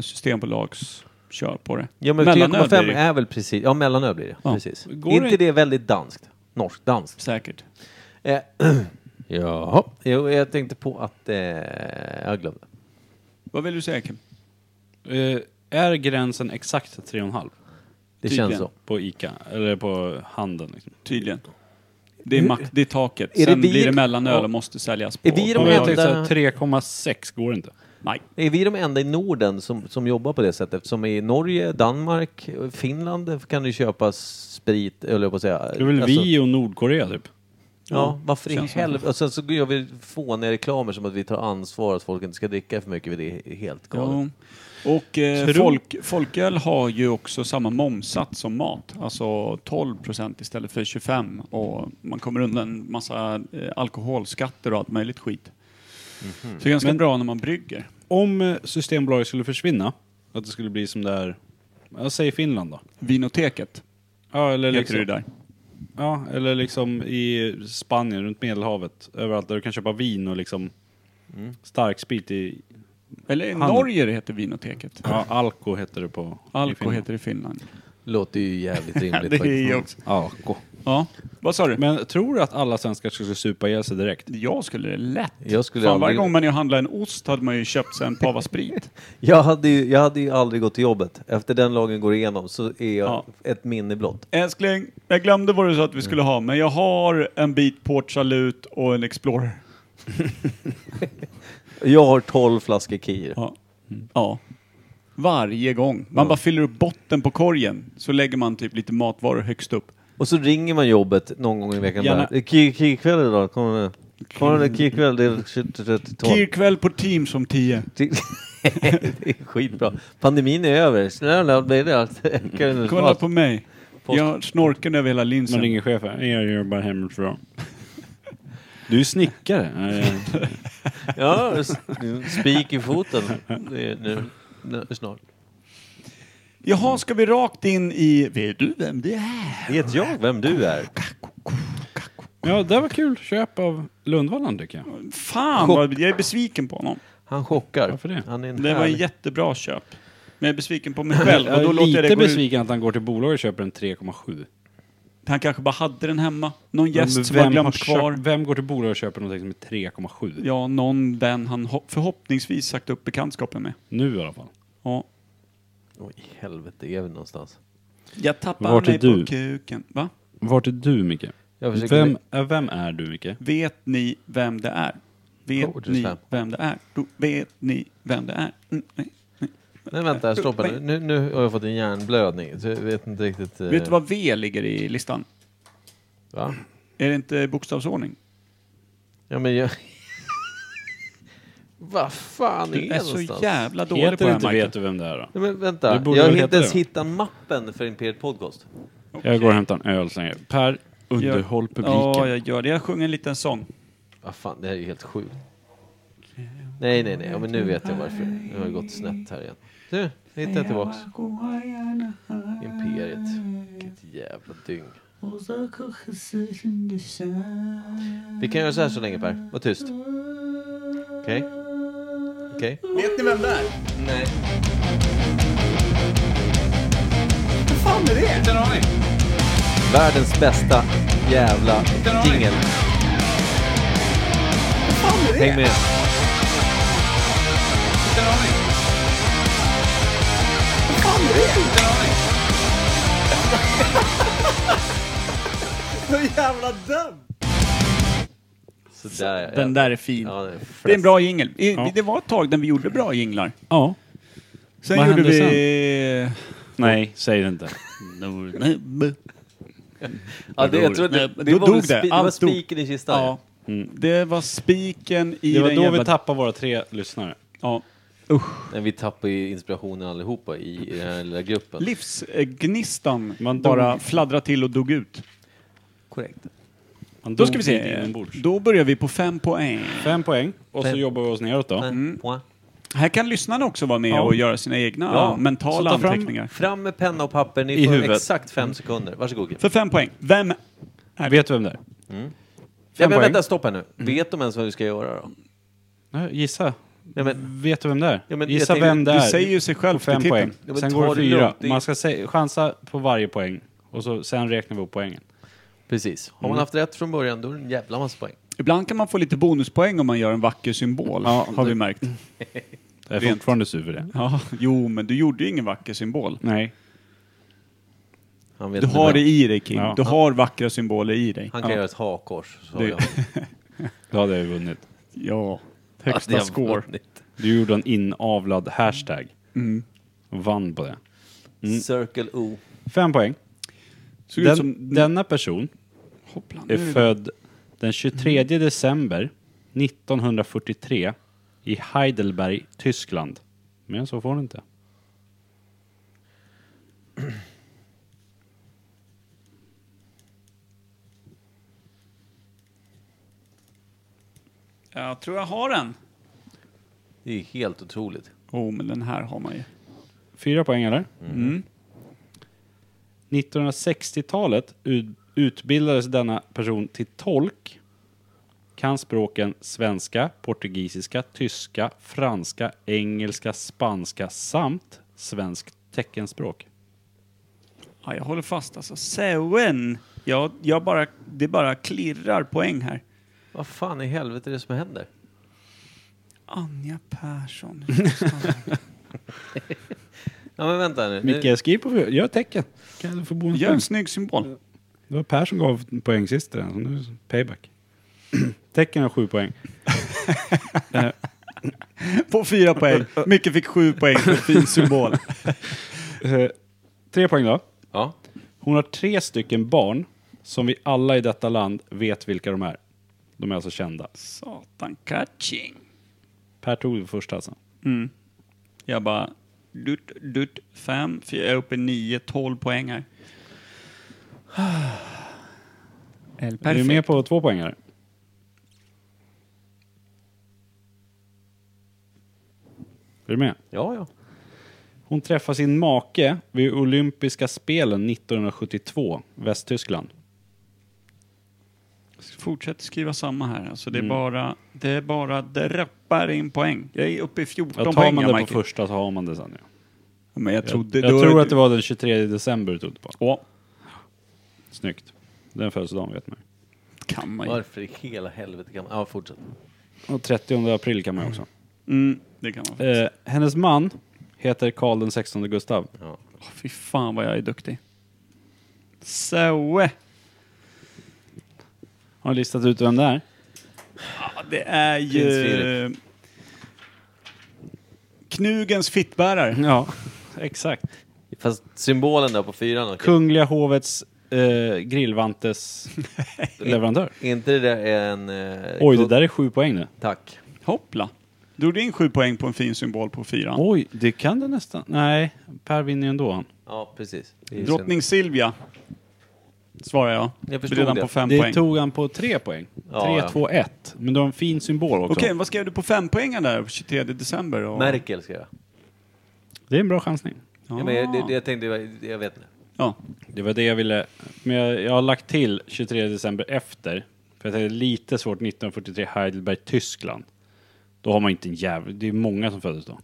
S2: systembolagskör på det.
S3: Ja men
S2: Mellanöl blir
S3: 3,5
S2: det ju.
S3: är väl precis, ja mellanöl blir det.
S2: Ja.
S3: Precis.
S4: Går
S3: inte
S4: det-
S3: det... väldigt danskt? Norskt, danskt.
S2: Säkert.
S3: Eh, Jaha. Jo, jag tänkte på att, eh, jag glömde.
S2: Vad vill du säga Kim?
S4: Eh, är gränsen exakt 3,5?
S3: Det
S4: Tydligen,
S3: känns så.
S4: På ICA, eller på handeln. Liksom.
S2: Tydligen. Det är, mak- det är taket.
S3: det
S2: Sen
S3: vi-
S2: blir det mellanöl
S3: Ja.
S2: och måste säljas på.
S3: Är vi de
S4: Ja, men
S2: bolaget.
S4: jag
S3: enda-
S4: tänkte så här, 3,6 går inte.
S2: Nej.
S3: Är vi de enda i Norden som, som jobbar på det sättet? Som i Norge, Danmark, Finland kan du köpa sprit, eller jag på att säga.
S4: Det är väl
S3: Alltså,
S4: vi och Nordkorea typ.
S3: Ja, varför i
S2: känns som
S3: helvete? Och sen så gör vi fåniga reklamer som att vi tar ansvar att folk inte ska dricka för mycket. Det är helt galet.
S2: Ja. Och eh,
S4: Tro-
S2: folk, folköl har ju också samma momssats som mat. Alltså 12 procent istället för 25. Och man kommer undan massa eh, alkoholskatter och allt möjligt skit.
S3: Mhm.
S2: Så det är ganska bra när man brygger.
S4: Om eh, Systembolaget skulle försvinna, att det skulle bli som där, jag säger Finland då.
S2: Vinoteket
S4: Ja, eller
S2: heter det ju
S4: liksom,
S2: där.
S4: ja, eller liksom i Spanien, runt Medelhavet, överallt där du kan köpa vin och liksom
S2: Mm.
S4: starksprit i,
S2: Eller i
S4: Handel.
S2: Norge det heter Vinoteket.
S4: ja, alko heter det på i
S2: Alko
S4: Finland.
S2: heter det i Finland.
S3: Låter ju jävligt
S2: Ja,
S3: rimligt
S2: det är ju
S3: faktiskt.
S2: också.
S4: Alko.
S2: Ja, vad sa du?
S4: Men tror du att alla svenskar skulle supa ihjäl sig direkt?
S2: Jag skulle det lätt.
S3: Jag skulle
S2: Fan,
S3: aldrig-
S2: Varje gång man är och handlar en ost hade man ju köpt sig en pava sprit.
S3: Jag hade, ju, jag hade ju aldrig gått till jobbet. Efter den lagen går igenom så är jag
S2: Ja.
S3: ett minne blott.
S2: Älskling, jag glömde vad du sa att vi skulle ha, men jag har en bit Port Salut och en Explorer.
S3: Jag har 12 flaskor Kir.
S2: Ja. ja. Varje gång. Man bara fyller upp botten på korgen, så lägger man typ lite matvaror högst upp.
S3: Och så ringer man jobbet någon gång i veckan.
S4: Gärna.
S3: bara, "Eh, Kir, kir kväll idag, kommer det? Kommer det kir kväll? Det är 20-30
S2: Kirkväll på Teams om tio.
S3: Det är skitbra. Pandemin är över. Snälla, blir det allt? Kan du
S2: Kolla
S3: svara?
S2: på mig.
S3: Post.
S2: Jag har snorken över hela
S4: Man
S2: linsen.
S4: ringer chefen, jag jobbar hemifrån. Du är snickare. Nej, jag-
S3: Ja, s- spik i foten. Det är nu, nu, snart.
S2: Jaha, ska vi rakt in i... Vet du vem det är?
S3: Vet jag vem du är?
S4: Ja, det var kul köp av Lundvallan tycker jag.
S2: Fan, vad, jag är besviken på honom.
S3: Han chockar.
S4: Varför det?
S3: Han är en
S2: Det var en
S3: härlig-
S2: jättebra köp. Men jag är besviken på mig själv och
S4: Jag
S2: då
S4: är
S2: låter jag det
S4: lite
S2: gå ut.
S4: besviken att han går till bolaget och köper en 3,7.
S2: Han kanske bara hade den hemma. Någon
S4: Men
S2: gäst som var
S4: har
S2: glömt
S4: köpt-
S2: kvar.
S4: vem går till bolaget och köper någonting som är 3,7?
S2: Ja, någon vän han ho- förhoppningsvis sagt upp bekantskapen med.
S4: Nu i alla fall.
S2: Ja.
S3: Oj, helvete är vi någonstans?
S2: Jag tappade
S4: Vart är
S2: mig
S4: du?
S2: på kuken. Va?
S4: Vart är du Micke?
S3: Jag försöker...
S4: Vem, äh, vem är du Micke?
S2: Vet ni vem det är? Vet
S3: Code
S2: ni
S3: slam.
S2: vem det är? Då vet ni vem det är? Mm, nej.
S3: Nej vänta, stoppa nu. nu. Nu har jag fått en hjärnblödning. Så jag vet inte riktigt... eh,
S2: Vet du vad V ligger i listan?
S3: Va?
S2: Är det inte bokstavsordning?
S3: Ja men jag... vad fan
S2: Du
S3: är
S2: är
S3: jag
S2: så
S3: någonstans?
S2: jävla dålig på det
S4: Heter du
S2: här,
S4: inte
S2: Michael.
S4: vet du vem det är då?
S3: Nej, men
S4: Du
S3: vänta,
S4: borde
S3: jag har
S4: väl
S3: inte
S4: heta
S3: ens
S4: det.
S3: hittat mappen för Imperiet Podcast.
S4: Jag går och hämtar en öl så länge. Per, underhåll publiken.
S2: Ja, jag gör det. Jag sjunger en liten sång.
S3: Vad Ah, fan, det här är ju helt sjukt. Nej, nej, nej, ja, men nu vet jag varför. Nu har det gått snett här igen. Du, nu hittar jag tillbaks. Imperiet. Vilket jävla dyng. Vi kan göra så här så länge Per, var tyst. Okej? Okej?
S6: Vet ni vem det är?
S3: Nej.
S6: Vad fan är det?
S1: Inte en aning.
S3: Världens bästa jävla jingel.
S6: Vad fan är det?
S3: Häng med.
S1: Inte en aning.
S6: Vad fan är det?
S1: Inte en aning.
S6: Så jävla dum!
S3: Sådär ja.
S2: Den där är fin.
S3: Ja, den
S2: Det är en bra jingel. I-
S4: Ja.
S2: Det var ett tag när vi gjorde bra jinglar.
S4: Ja.
S2: Sen
S4: Vad
S2: gjorde
S4: hände
S2: vi...
S4: Nej, säg det inte.
S3: Ja, det, jag tror det,
S2: Nej,
S3: det
S2: då
S3: var, väl
S2: dog det.
S3: spi- det var
S2: Allt dog.
S3: spiken i kistan.
S2: Ja. Det var spiken i
S4: Mm. Det var
S2: den
S4: då
S2: jävla...
S4: vi tappade våra tre lyssnare.
S2: ja.
S3: Men vi tappar ju inspirationen allihopa i, i den här lilla gruppen.
S2: Livsgnistan
S4: Man dog.
S2: bara fladdrade till och dog ut.
S7: Korrekt.
S4: Man
S2: Då
S4: dog
S2: ska vi
S4: lite
S2: se.
S4: inombords.
S2: Då börjar vi på fem poäng.
S4: Fem poäng och så
S3: Fem.
S4: jobbar vi oss neråt då.
S3: Mm. Point.
S2: Här kan lyssnarna också vara med
S4: Ja.
S2: och göra sina egna
S3: Ja,
S2: mentala
S3: så ta fram-
S2: anteckningar.
S3: Fram med penna och papper, ni
S4: I
S3: får
S4: huvudet.
S3: exakt fem sekunder. Varsågod. Kim.
S2: För fem poäng. Vem...
S4: Vet du vem det är?
S3: Ja, men
S4: poäng.
S3: vänta, stopp här nu.
S2: Mm.
S3: Vet de ens vad du ska göra då?
S4: Nej, Gissa.
S3: Nej, men,
S4: Vet du vem det är?
S3: Ja, men
S4: Gissa
S3: jag tänkte-
S4: vem det
S2: Du
S4: är.
S2: säger ju sig själv
S4: på fem
S2: till
S4: poäng.
S2: titeln.
S3: Ja, men
S4: Sen
S3: ta
S4: går det
S3: det
S4: fyra.
S3: lugnt. Det är-
S4: Man ska se, chansa på varje poäng. Och så, sen räknar vi upp poängen.
S3: precis. Har
S2: Mm.
S3: man haft rätt från början, då är det en jävla massa poäng.
S2: Ibland kan man få lite bonuspoäng om man gör en vacker symbol,
S4: Ja,
S2: har
S4: det-
S2: vi märkt.
S4: Jag är
S2: Rent.
S4: fortfarande sur för det.
S2: Ja, jo, men du gjorde ju ingen vacker symbol.
S4: Nej.
S3: Han, vet
S2: Du
S3: inte
S2: har
S3: vem.
S2: det i dig, Kim.
S4: Ja.
S2: Du har vackra symboler i dig.
S3: Han kan göra ett hakkors. Så
S2: Det-
S3: jag.
S4: Då hade jag ju vunnit.
S2: Ja.
S3: Att
S2: Högsta
S3: jag
S2: score.
S3: vunnit.
S4: Du gjorde en inavlad hashtag.
S2: Mm.
S4: Och vann på det.
S3: Circle O.
S4: Fem poäng.
S2: Såg ut
S4: Den,
S2: som...
S4: Denna person
S2: Hoppla, nu
S4: är
S2: är det-
S4: född den 23 december 1943 i Heidelberg, Tyskland. Men så får hon inte.
S2: Jag tror jag har den.
S3: Det är helt otroligt.
S2: Oh, men den här har man ju.
S4: Fyra poäng eller? Mm. 1960-talet ut- utbildades denna person till tolk. Kan språken svenska, portugisiska, tyska, franska, engelska, spanska samt svenskt teckenspråk.
S2: Ja, jag håller fast alltså. Seven. Jag, jag bara, det bara klirrar poäng här.
S3: Vad fan i helvete är det som händer?
S2: Anja Persson.
S3: Ja, men vänta nu. nu.
S4: Micke, skriv på Gör tecken. Kan du få bonus
S2: Gör en snygg symbol.
S4: Det var Per som gav poäng sist i den, så nu är det payback. tecken har sju poäng.
S2: På fyra poäng. Micke fick sju poäng för en fin symbol.
S4: Eh, Tre poäng då.
S3: Ja.
S4: Hon har tre stycken barn som vi alla i detta land vet vilka de är. De är alltså kända.
S2: Satan catching.
S4: Per tog det första alltså.
S2: Jag bara... Dutt, dutt, fem, fyra, jag är uppe i nio, tolv poäng här.
S4: Är
S2: Perfekt.
S4: du med på två poängare? Är du med?
S3: Ja, ja.
S4: Hon träffar sin make vid olympiska spelen 1972, Västtyskland.
S2: Fortsätt skriva samma här. Alltså det är bara... Det är bara... Det rappar in poäng. Jag är uppe i 14
S4: Ja, tar
S2: poäng,
S4: man
S2: ja,
S4: det på
S2: Michael.
S4: första så har man det sen. Ja.
S2: Ja, Men jag
S4: Jag,
S2: trodde...
S4: jag
S2: då-
S4: tror att det var den 23 december du trodde på.
S2: Ja.
S4: Snyggt. Den födelsedagen vet man ju.
S2: Kan man ju.
S3: Varför i hela helvete kan man... Ja, fortsätt.
S4: Och 30 april kan man ju också.
S2: Mm, det kan man.
S4: Eh, hennes man heter Karl den 16 Gustav.
S2: Åh, fy fan vad jag är duktig. Så.
S4: Har ni listat ut vem det är?
S2: Ja, det är
S3: Prins
S2: ju...
S3: Filip.
S2: Knugens fittbärare.
S4: Ja, exakt.
S3: Fast symbolen där på fyran, okej.
S4: Kungliga hovets eh, grillvantes leverantör.
S3: Är inte det där en... Eh,
S4: Oj, det
S3: kung-
S4: där är sju poäng det.
S3: Tack.
S2: Hoppla. Drog du in sju poäng på en fin symbol på fyran?
S4: Oj, det kan det nästan. Nej, Per vinner ju ändå han.
S3: Ja, precis. Det är ju
S2: Drottning Silvia. Svarar jag.
S3: Jag förstod
S2: Redan
S3: det.
S2: på fem
S4: det
S2: poäng. Okej,
S4: tog han på tre poäng.
S3: Ja,
S4: tre,
S3: ja.
S4: två, ett. Men du har en fin symbol också.
S2: vad skrev du på fem poängen där? 23 december? Och...
S3: synd. Merkel ska jag.
S4: Det är en bra chansning.
S3: Ja, men jag, det,
S2: Ah.
S3: det, jag tänkte, jag- jag vet inte.
S2: Ja.
S4: Det var det jag ville. Men jag, jag har lagt till 23 december efter. För jag tänkte lite svårt 1943 Heidelberg, Tyskland. Då har man inte en jävla... Det är många som föddes då.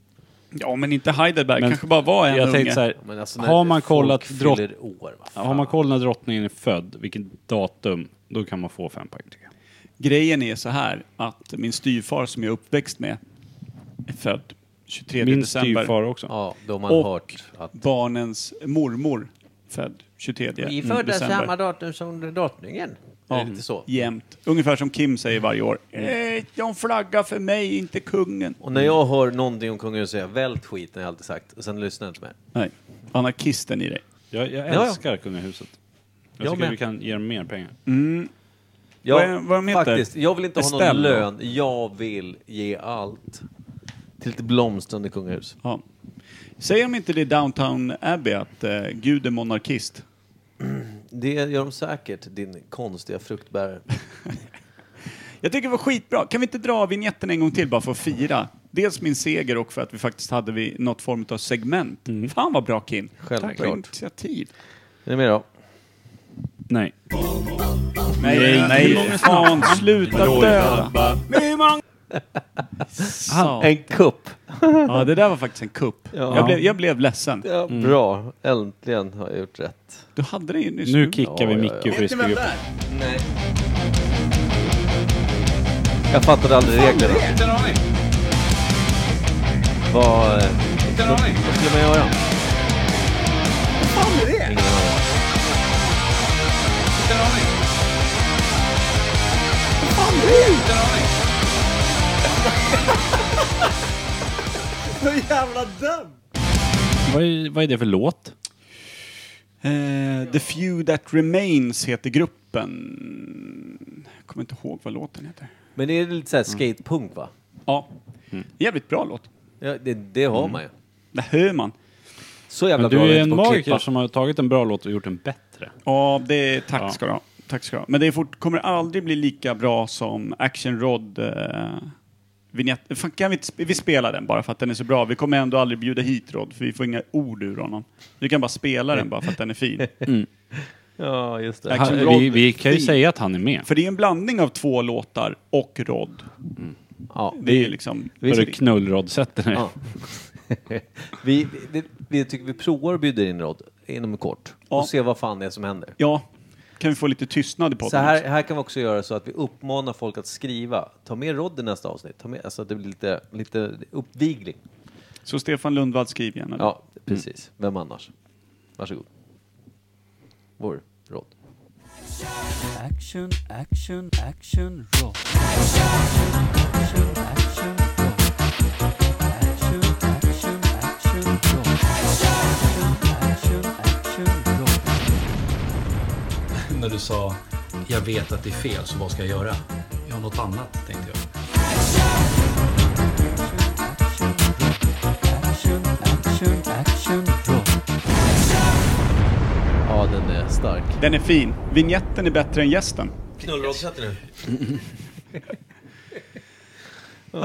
S2: ja, men inte Heidelberg.
S4: Men
S2: Kanske bara var en
S4: Jag
S2: unge.
S4: tänkte så här,
S3: Men alltså, när
S4: har man kollat
S3: folk
S4: drott...
S3: fyller år, va?
S4: Har man kollat när drottningen är född, vilket datum, då kan man få fem poäng tycker jag.
S2: Grejen är så här att min styvfar som jag är uppväxt med är född 23
S4: Min
S2: december.
S4: styvfar också.
S3: Ja, då har man
S2: Och-
S3: hört att...
S2: Barnens mormor född 23
S3: Vi
S2: december.
S3: föddes samma datum som drottningen. Ja. Är det inte så?
S2: Jämt. Ungefär som Kim säger varje år. Eh, de flaggar för mig, inte kungen.
S3: Och när jag hör någonting om kungen så säger jag vält skiten, har jag alltid sagt. Och sen lyssnar jag inte mer.
S2: Nej, anarkisten i dig.
S4: Jag, jag
S3: Ja, ja.
S4: älskar kungahuset. Jag,
S3: Jag
S4: tycker
S3: med. Mm.
S4: vi kan ge dem mer pengar.
S3: Jag,
S2: Vad är- vad de heter?
S3: Faktiskt, jag vill inte ha
S2: Estelle,
S3: någon
S2: då?
S3: lön. Jag vill ge allt. Till ett blomstrande kungahus.
S2: Ja. Säger de inte det i Downtown Abbey att eh, Gud är monarkist?
S3: Det gör de säkert, din konstiga fruktbärare.
S2: Jag tycker det var skitbra. Kan vi inte dra vignetten en gång till bara för att fira? Dels min seger och för att vi faktiskt hade vi något form av segment. Fan vad bra Kim!
S3: Självklart.
S2: Tack. Initiativ.
S3: Är ni med då?
S4: Nej.
S2: Nej, nej, nej. Fan, sluta döda! Sa-
S3: En kupp!
S2: Ja, det där var faktiskt en kupp.
S3: Ja.
S2: Jag, blev, jag blev ledsen.
S3: Ja,
S4: Mm.
S3: Bra, äntligen har jag gjort rätt.
S2: Du hade det ju nyss. Mm.
S4: Nu kickar vi
S3: ja,
S4: Micke
S3: ja.
S6: Vet ni vem
S4: Frisbee
S6: det
S4: upp.
S6: är?
S3: Nej. Jag fattade aldrig reglerna.
S1: Inte en aning.
S3: Vad, eh,
S1: Inte en aning.
S3: vad skulle man göra?
S6: Fan är det?
S3: Ingen aning.
S1: Inte en aning.
S6: Fan är det?
S1: Inte en aning.
S6: Så jävla dum!
S4: Vad är, vad är det för låt?
S2: Eh, The Few That Remains heter gruppen. Jag kommer inte ihåg vad låten heter.
S3: Men det är lite såhär skatepunk va?
S2: Ja,
S4: Mm.
S2: jävligt bra låt.
S3: Ja, det, det har man ju.
S2: Det hör man.
S3: Så jävla
S4: Men du
S3: bra
S4: är
S3: vet
S4: en
S3: på att klippa.
S4: magiker som har tagit en bra låt och gjort den bättre.
S2: Ja, det, tack
S4: Ja.
S2: ska du ha. Tack ska du ha. Men det är fort, kommer aldrig bli lika bra som Action Rod eh, vignett. Fan, kan vi, inte sp- vi spelar den bara för att den är så bra. Vi kommer ändå aldrig bjuda hit Rod för vi får inga ord ur honom. Vi kan bara spela den bara för att den är fin.
S3: Ja, just det.
S2: Tack. Action
S4: Han,
S2: Rod
S4: vi, vi kan ju
S2: Fin.
S4: säga att han är med.
S2: För det är en blandning av två låtar och Rod.
S3: Ja.
S2: Det är ju liksom...
S4: För du knullradsätter dig.
S3: Ja. vi, vi, vi tycker vi provar och bjuder in Rod inom kort
S2: Ja.
S3: och ser vad fan det är som händer.
S2: Ja, kan vi få lite tystnad i podden?
S3: Så här,
S2: också?
S3: här kan vi också göra så att vi uppmanar folk att skriva. Ta med Rod i nästa avsnitt. Ta med, alltså att det blir lite, lite uppvigling.
S2: Så Stefan Lundvall, skriv gärna. det.
S3: Ja, precis.
S2: Mm.
S3: Vem annars? Varsågod. Vår Rod.
S8: Action, action, action, roll. Action, action, roll. Action, action, action, roll. Action, action, action, roll.
S9: när du sa jag vet att det är fel, så vad ska jag göra? Jag har något annat, tänkte jag.
S8: Action, action, action, roll.
S3: Ja, den är stark.
S2: Den är fin. Vignetten är bättre än gästen.
S3: Knullroddsätter nu.
S4: Det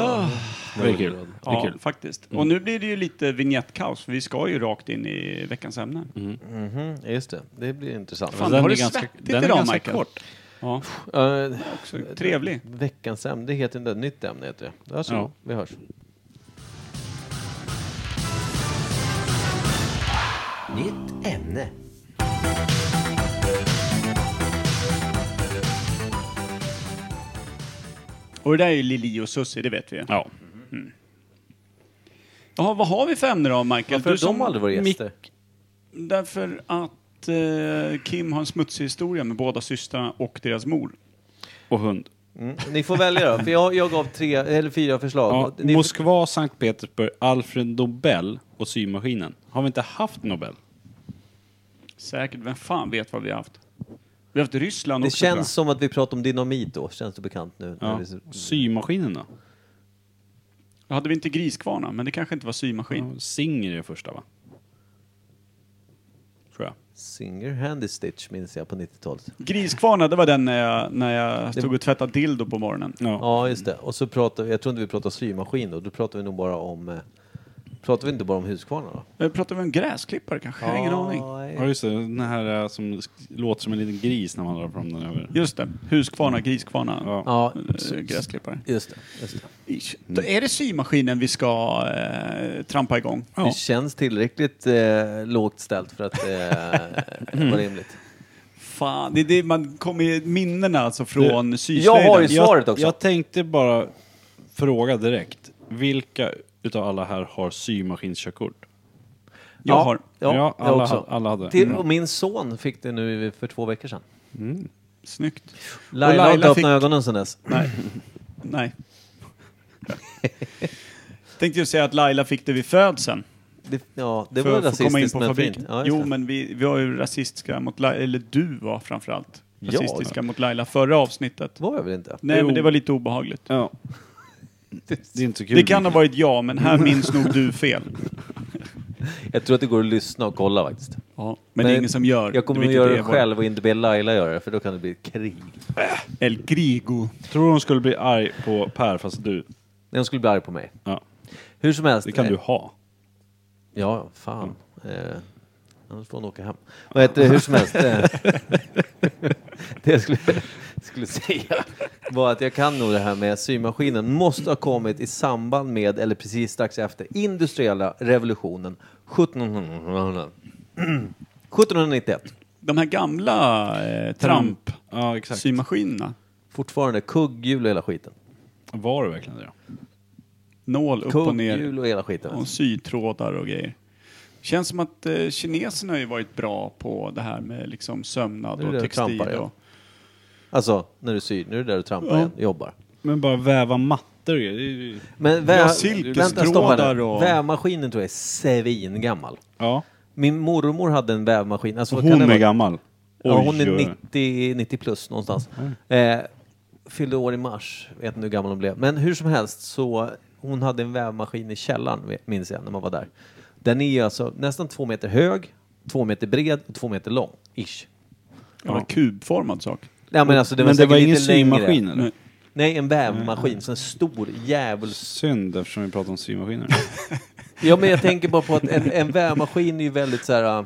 S4: är kul. Det är
S2: Ja,
S4: kul. Mm.
S2: faktiskt. Och nu blir det ju lite vignettkaos, för vi ska ju rakt in i veckans ämne.
S3: Ja, just det. Det blir intressant.
S2: Fan,
S4: Mm. Alltså, den
S2: har
S4: är
S2: du
S4: ganska-
S2: svettigt
S4: den är
S2: idag,
S4: ganska
S2: Michael?
S4: kort.
S2: Ja,
S3: Eh,
S2: också trevlig.
S3: veckans ämne, det heter inte det. Nytt ämne heter det. Varsågod,
S4: Ja.
S3: vi hörs.
S9: Nytt ämne.
S2: Och det där är ju Lili och Susie, det vet vi ju.
S4: Ja.
S2: Jaha, vad har vi för ämne då, Michael?
S3: Varför har de aldrig varit
S2: mick-
S3: gäster?
S2: Därför att eh, Kim har en smutsig historia med båda systrarna och deras mor.
S4: Och hund.
S3: Mm. Ni får välja då, för jag, jag gav tre eller fyra förslag.
S4: Ja,
S3: Ni-
S4: Moskva, Sankt Petersburg, Alfred Nobel och symaskinen. Har vi inte haft Nobel?
S2: Säkert, vem fan vet vad vi har haft? Vi har haft Ryssland
S3: det
S2: också, tror
S3: känns
S2: jag.
S3: som att vi pratar om dynamit då, känns det bekant nu?
S4: Ja.
S3: När vi-
S4: Symaskinen då?
S2: Hade vi inte Griskvarna? Men det kanske inte var symaskin.
S4: Ja, Singer är det första va? Tror jag.
S3: Singer Handy Stitch minns jag på 90-talet.
S2: Griskvarna, det var den när jag, när jag stod och tvättade dildo på morgonen.
S4: Ja.
S3: Ja, just det. Och så pratar vi, jag tror inte vi pratar symaskin då, då pratar vi nog bara om... eh, Pratar vi inte bara om Husqvarna då?
S2: Eh, Pratar vi om gräsklippare kanske? Jag har ingen aning.
S4: ja,
S3: aning.
S4: just det. Den här eh, som sk- låter som en liten gris när man drar fram den över.
S2: Just det, Huskvarna, Griskvarna,
S4: Ja.
S3: Ja,
S2: eh, gräsklippare.
S3: just det. Just det.
S2: Ish. Då är det symaskinen vi ska eh, trampa igång.
S3: det känns tillräckligt eh, lågt ställt för att eh,
S2: Mm.
S3: vara rimligt.
S2: Fan, det är det man kommer ju minnena alltså från syslöjden.
S3: Jag har ju svaret
S4: jag,
S3: också.
S4: Jag tänkte bara fråga direkt. Vilka utav alla här har symaskinskörkort?
S2: Jag har.
S3: Ja,
S4: Ja,
S3: jag
S4: alla
S3: också.
S4: ha- alla hade.
S3: Till,
S4: Mm.
S3: och min son fick det nu för två veckor sedan.
S2: Snyggt.
S3: Laila har
S2: Laila
S3: inte öppnat
S2: fick-
S3: ögonen sedan dess.
S2: Nej. Nej. Tänkte ju säga att Laila fick det vid födseln.
S3: Det, ja, det
S2: för
S3: var
S2: att få komma in
S3: rasistiskt
S2: på
S3: men
S2: fabriken.
S3: fint. Ja, just
S2: jo,
S3: det.
S2: men vi, vi var ju rasistiska mot Laila, eller du var framförallt
S3: Jag?
S2: rasistiska mot Laila förra avsnittet.
S3: var jag väl inte?
S2: Nej,
S4: Jo.
S2: men det var lite obehagligt.
S4: Ja. Det är inte så kul.
S2: Det kan ha varit jag, men här minns nog du fel.
S3: Jag tror att det går att lyssna och kolla faktiskt.
S2: Ja, men det är ingen som gör.
S3: Jag kommer att
S2: vilket
S3: göra
S2: är
S3: det
S2: vår-
S3: själv och inte be Laila göra det, för då kan det bli krig.
S2: El Grigo.
S4: Tror du hon skulle bli arg på Per fast du...
S3: Nej, hon skulle bli arg på mig.
S4: Ja,
S3: Hur som helst.
S4: det kan
S3: eh,
S4: du ha.
S3: Ja, fan. Eh, annars får hon åka hem. Vad heter det, hur som helst. Eh, det jag skulle, skulle säga var att jag kan nog det här med symaskinen. Måste ha kommit i samband med, eller precis strax efter, industriella revolutionen 1700 1791.
S2: De här gamla eh, tramp
S4: Ja, exakt.
S2: symaskinerna.
S3: Fortfarande kugghjul och hela skiten.
S4: Var det verkligen det?
S2: Nål upp och ner
S3: Kugghjul och hela skiten.
S2: och sytrådar och grejer. Känns som att eh, kineserna har ju varit bra på det här med liksom sömnad
S3: Det är
S2: och
S3: det
S2: textil.
S3: trampar, ja.
S2: och,
S3: Alltså, när du syr, nu är det där du trampar igen, jobbar.
S4: Men bara väva mattor och grejer, det är ju-
S3: Men väv,
S2: Ja, silkestrådar
S3: vänta, stoppa nu.
S2: och-
S3: Vävmaskinen tror jag är svingammal.
S4: Ja.
S3: Min mormor hade en vävmaskin. Alltså, vad kan
S4: Hon
S3: det
S4: är
S3: vara?
S4: gammal.
S3: Ja,
S4: Oj,
S3: hon är
S4: oj, oj.
S3: 90, 90 plus någonstans. Eh, fyllde år i mars. Vet inte hur gammal hon blev. Men hur som helst så hon hade en vävmaskin i källaren minns jag när man var där. Den är ju alltså nästan två meter hög, två meter bred och två meter lång. Ish.
S2: ja. kubformad sak.
S3: Nej, men alltså, det var,
S4: Men det
S3: säkert
S4: var ingen
S3: lite längre.
S4: symaskin eller?
S3: Nej, en vävmaskin. Så en stor djävuls...
S4: Synd eftersom vi pratar om symaskiner.
S3: Ja, men jag tänker bara på att en, en vävmaskin är ju väldigt så här... äh,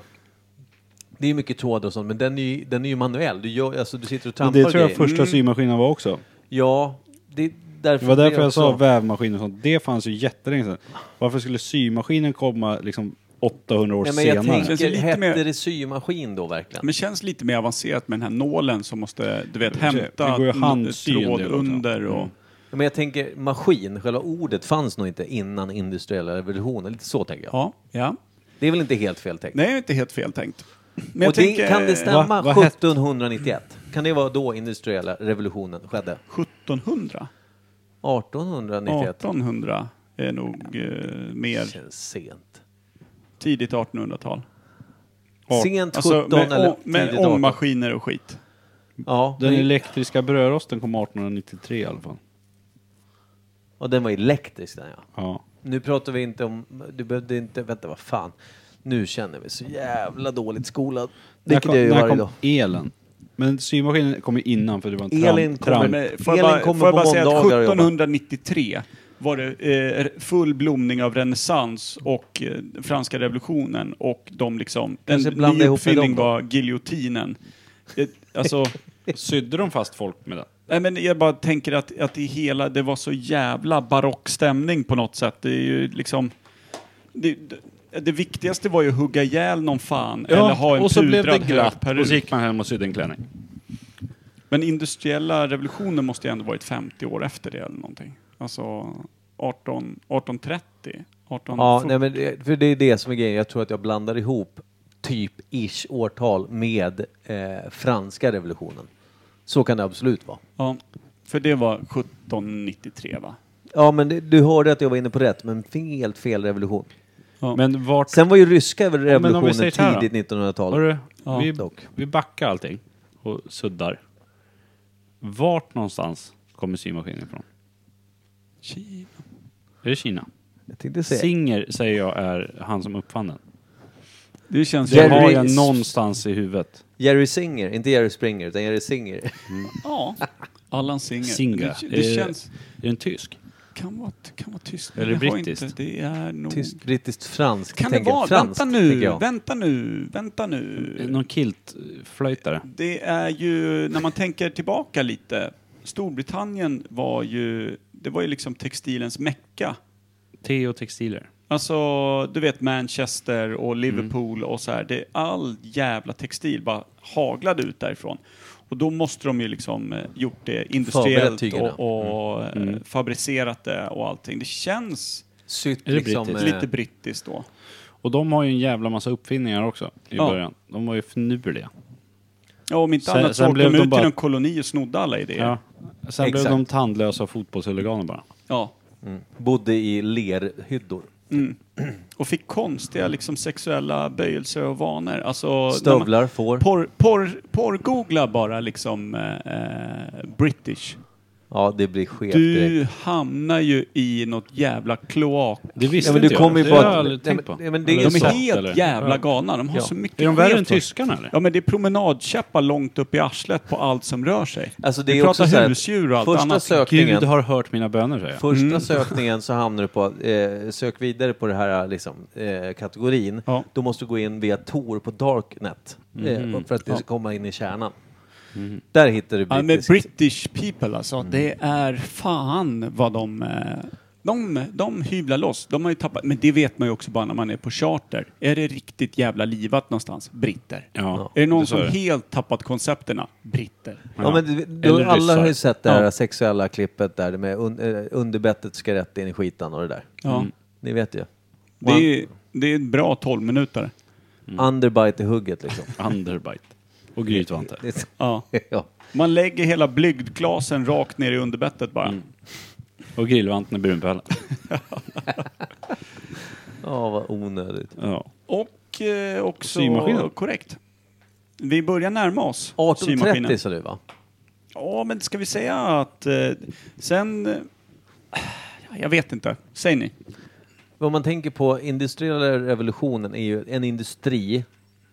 S3: Det är mycket tråd och sånt, men den är ju, den är ju manuell. Du, gör, alltså, du sitter och
S4: Men
S3: trampar
S4: det tror jag
S3: grejer. Mm.
S4: första symaskinen var också.
S3: Ja, det är därför
S4: Det var därför
S3: det
S4: jag sa
S3: också-
S4: vävmaskin och sånt. Det fanns ju jättelänge sedan. Varför skulle symaskinen komma liksom 800 år
S3: Nej, men jag
S4: senare?
S2: Känns
S3: tänker,
S2: det lite
S3: hette
S2: mer-
S3: det symaskin då verkligen?
S2: Men känns lite mer avancerat med den här nålen som måste, du vet, hämta
S4: det går ju alltså. Mm. att handsy en
S2: tråd
S4: del också.
S2: under och...
S3: Men jag tänker maskin, själva ordet fanns nog inte innan industriella revolutionen. Lite så tänker jag.
S2: Ja, ja.
S3: Det är väl inte helt fel tänkt?
S2: Nej, det är inte helt fel tänkt. Men
S3: Och det, kan det stämma
S4: Va- vad hette-
S3: 1791? Kan det vara då industriella revolutionen skedde?
S2: 1700?
S3: 1891?
S2: 1800 är nog eh, mer
S3: Känns sent.
S2: tidigt 1800-tal.
S3: Sent 17
S2: Alltså, med,
S3: eller
S2: å- med
S3: tidigt 18.
S2: ångmaskiner och skit.
S3: Ja,
S4: Den
S3: men-
S4: elektriska brödrosten kom 1893 i alla fall.
S3: och den var elektrisk den ja.
S4: Ja.
S3: Nu pratar vi inte om, du behövde inte, vänta vad fan. Nu känner vi så jävla dåligt skolad. Vilket
S4: kom,
S3: jag gör
S4: när
S3: varje
S4: kom
S3: dag.
S4: elen? Men symaskinen kom ju innan för det var en tramp.
S3: Elin
S4: tramp.
S3: kommer
S2: Men
S3: med,
S2: Får jag
S3: Elin
S2: bara,
S3: kommer
S2: får jag
S3: på
S2: bara säga att
S3: måndagar och jobbar.
S2: 1793 var det eh, full blomning av renässans och eh, franska revolutionen och de liksom... En
S3: Kanske blanda
S2: ny
S3: ihop med
S2: uppfinning
S3: dem då.
S2: var giljotinen. Eh, Alltså,
S4: Sydde de fast folk med den?
S2: nej men jag bara tänker att, att det, hela, det var så jävla barock stämning på något sätt. Det är ju liksom... Det, det, det viktigaste var ju att hugga ihjäl någon fan eller ha en
S4: och så blev det
S2: pudrad hög
S4: glatt
S2: peruk.
S4: och så gick man hem och sydde en klänning.
S2: Men industriella revolutionen måste ju ändå varit 50 år efter det eller någonting. Alltså 18, 1830, 1840.
S3: Ja, nej, men det, för det är det som är grejen. Jag tror att jag blandar ihop typ ish årtal med eh, franska revolutionen. Så kan det absolut vara.
S2: Ja, för det var 1793 va?
S3: Ja, men det, du hörde att jag var inne på rätt, men helt fel revolution.
S2: Ja.
S4: Men vart...
S3: Sen var ju ryska
S4: men om vi säger
S3: revolutionen
S4: så här då.
S3: tidigt
S4: Hörru,
S3: 1900-tal. Ja,
S4: vi,
S3: dock.
S4: vi backar allting och suddar. Vart någonstans kommer symaskinen ifrån?
S2: Kina.
S4: Är det Kina?
S3: Jag tänkte säga.
S4: Singer säger jag är han som uppfann den.
S2: Det känns
S4: Det
S3: Jerry-
S4: har jag någonstans i huvudet.
S3: Jerry Singer, inte Jerry Springer, utan Jerry Singer.
S2: Ja. Allan Singer.
S4: Singa.
S2: Det, det
S4: Eh,
S2: känns...
S4: Är den tysk?
S2: Kan vara, kan vara tyst.
S4: Eller
S2: Jag har
S4: brittiskt.
S2: Inte, det är nog...
S3: Tyst, brittiskt, franskt.
S2: Kan det
S3: tänker jag.
S2: vara?
S3: Franskt,
S2: vänta nu,
S3: tänker jag.
S2: vänta nu, vänta nu.
S4: Någon kiltflöjtare?
S2: Det är ju, när man tänker tillbaka lite. Storbritannien var ju, det var ju liksom textilens mecka.
S4: Te och textiler.
S2: Alltså, du vet Manchester och
S4: Mm.
S2: Liverpool och så här. Det, all jävla textil bara haglade ut därifrån. Och då måste de ju liksom eh, gjort det
S3: Förberett
S2: industriellt
S3: tygerna.
S2: och, och
S4: Mm.
S2: eh, fabricerat det och allting. Det känns
S3: Sytt
S4: Är det
S3: liksom...
S4: brittiskt?
S3: eh,
S2: lite brittiskt då.
S4: Och de har ju en jävla massa uppfinningar också i
S2: Ja.
S4: början. De var ju finurliga.
S2: Ja, om inte
S4: Sen-
S2: annat så
S4: sen
S2: åkte
S4: blev
S2: de
S4: de
S2: ut
S4: bara-
S2: till en koloni och snodde alla idéer.
S4: Ja.
S2: Ja.
S4: Sen
S3: Exakt.
S4: blev de tandlösa fotbollshuliganer bara.
S3: mm, bodde i lerhyddor.
S2: Och fick konstiga
S3: Mm.
S2: liksom, sexuella böjelser och vanor. Alltså, när man-
S3: Stövlar, får.
S2: Porr, porr, porrgoogla bara liksom eh, eh, British.
S3: Ja, det blir skevt direkt.
S2: Du hamnar ju i något jävla kloak.
S4: Det visste
S3: Ja, men
S4: inte
S3: du kommer
S4: jag. Det
S3: ju på
S4: har
S3: att-
S4: jag aldrig
S3: Nej,
S4: tänkt
S3: men-
S4: på.
S3: ja, men det är
S2: De
S3: ju
S4: Eller
S3: så.
S2: är
S4: sett,
S2: helt
S4: eller?
S2: jävla
S4: Ja.
S2: galna. De har
S3: Ja.
S2: så mycket
S4: Är de värre
S2: skevt
S4: än
S2: för sig.
S4: tyskarna eller?
S2: Ja, men det är promenadkäppar långt upp i arslet på allt som rör sig.
S3: Alltså, det
S2: Vi
S3: är också så
S2: pratar
S3: här-
S2: husdjur och allt
S3: första
S2: annat.
S3: sök-
S4: Gud har hört mina böner säger jag.
S3: Första sökningen så hamnar du på, eh, sök vidare på den här liksom, eh, kategorin.
S2: Ja.
S3: Då måste du gå in via Tor på Darknet eh, för att du ska komma in i kärnan. Där hittar du
S2: Ja, men
S3: brittiskt.
S2: British people alltså,
S4: Mm.
S2: det är fan vad de... eh, De, de hyvlar loss. De har ju tappat, men det vet man ju också bara när man är på charter. Är det riktigt jävla livat någonstans? Britter.
S4: Ja.
S2: Är det någon
S4: Det sa
S2: som
S4: jag.
S2: helt tappat koncepterna? Britter.
S3: ja, men, du-
S4: Eller
S3: du, alla har ju
S4: ryssar.
S3: sett det här
S2: Ja.
S3: sexuella klippet där med un, eh, underbettet ska rätt in i skitan och det där.
S2: Ja.
S4: Mm.
S3: Ni vet ju.
S2: Det, är, det är en bra 12 minuter.
S3: Underbite i hugget liksom.
S4: Underbite. Och grytvante.
S3: Det-
S2: Ja.
S3: ja.
S2: Man lägger hela blygdglasen rakt ner i underbettet bara.
S4: Mm. Och grillvanten i brunpölen.
S3: ja, vad onödigt.
S4: Ja.
S2: Och eh, också...
S4: Symaskinen.
S2: Korrekt. Vi börjar närma oss
S3: 1830
S2: symaskinen.
S3: sa du va?
S2: Ja, men ska vi säga att eh, sen... Eh, jag vet inte. Säg ni.
S3: Vad man tänker på industriella revolutionen är ju en industri,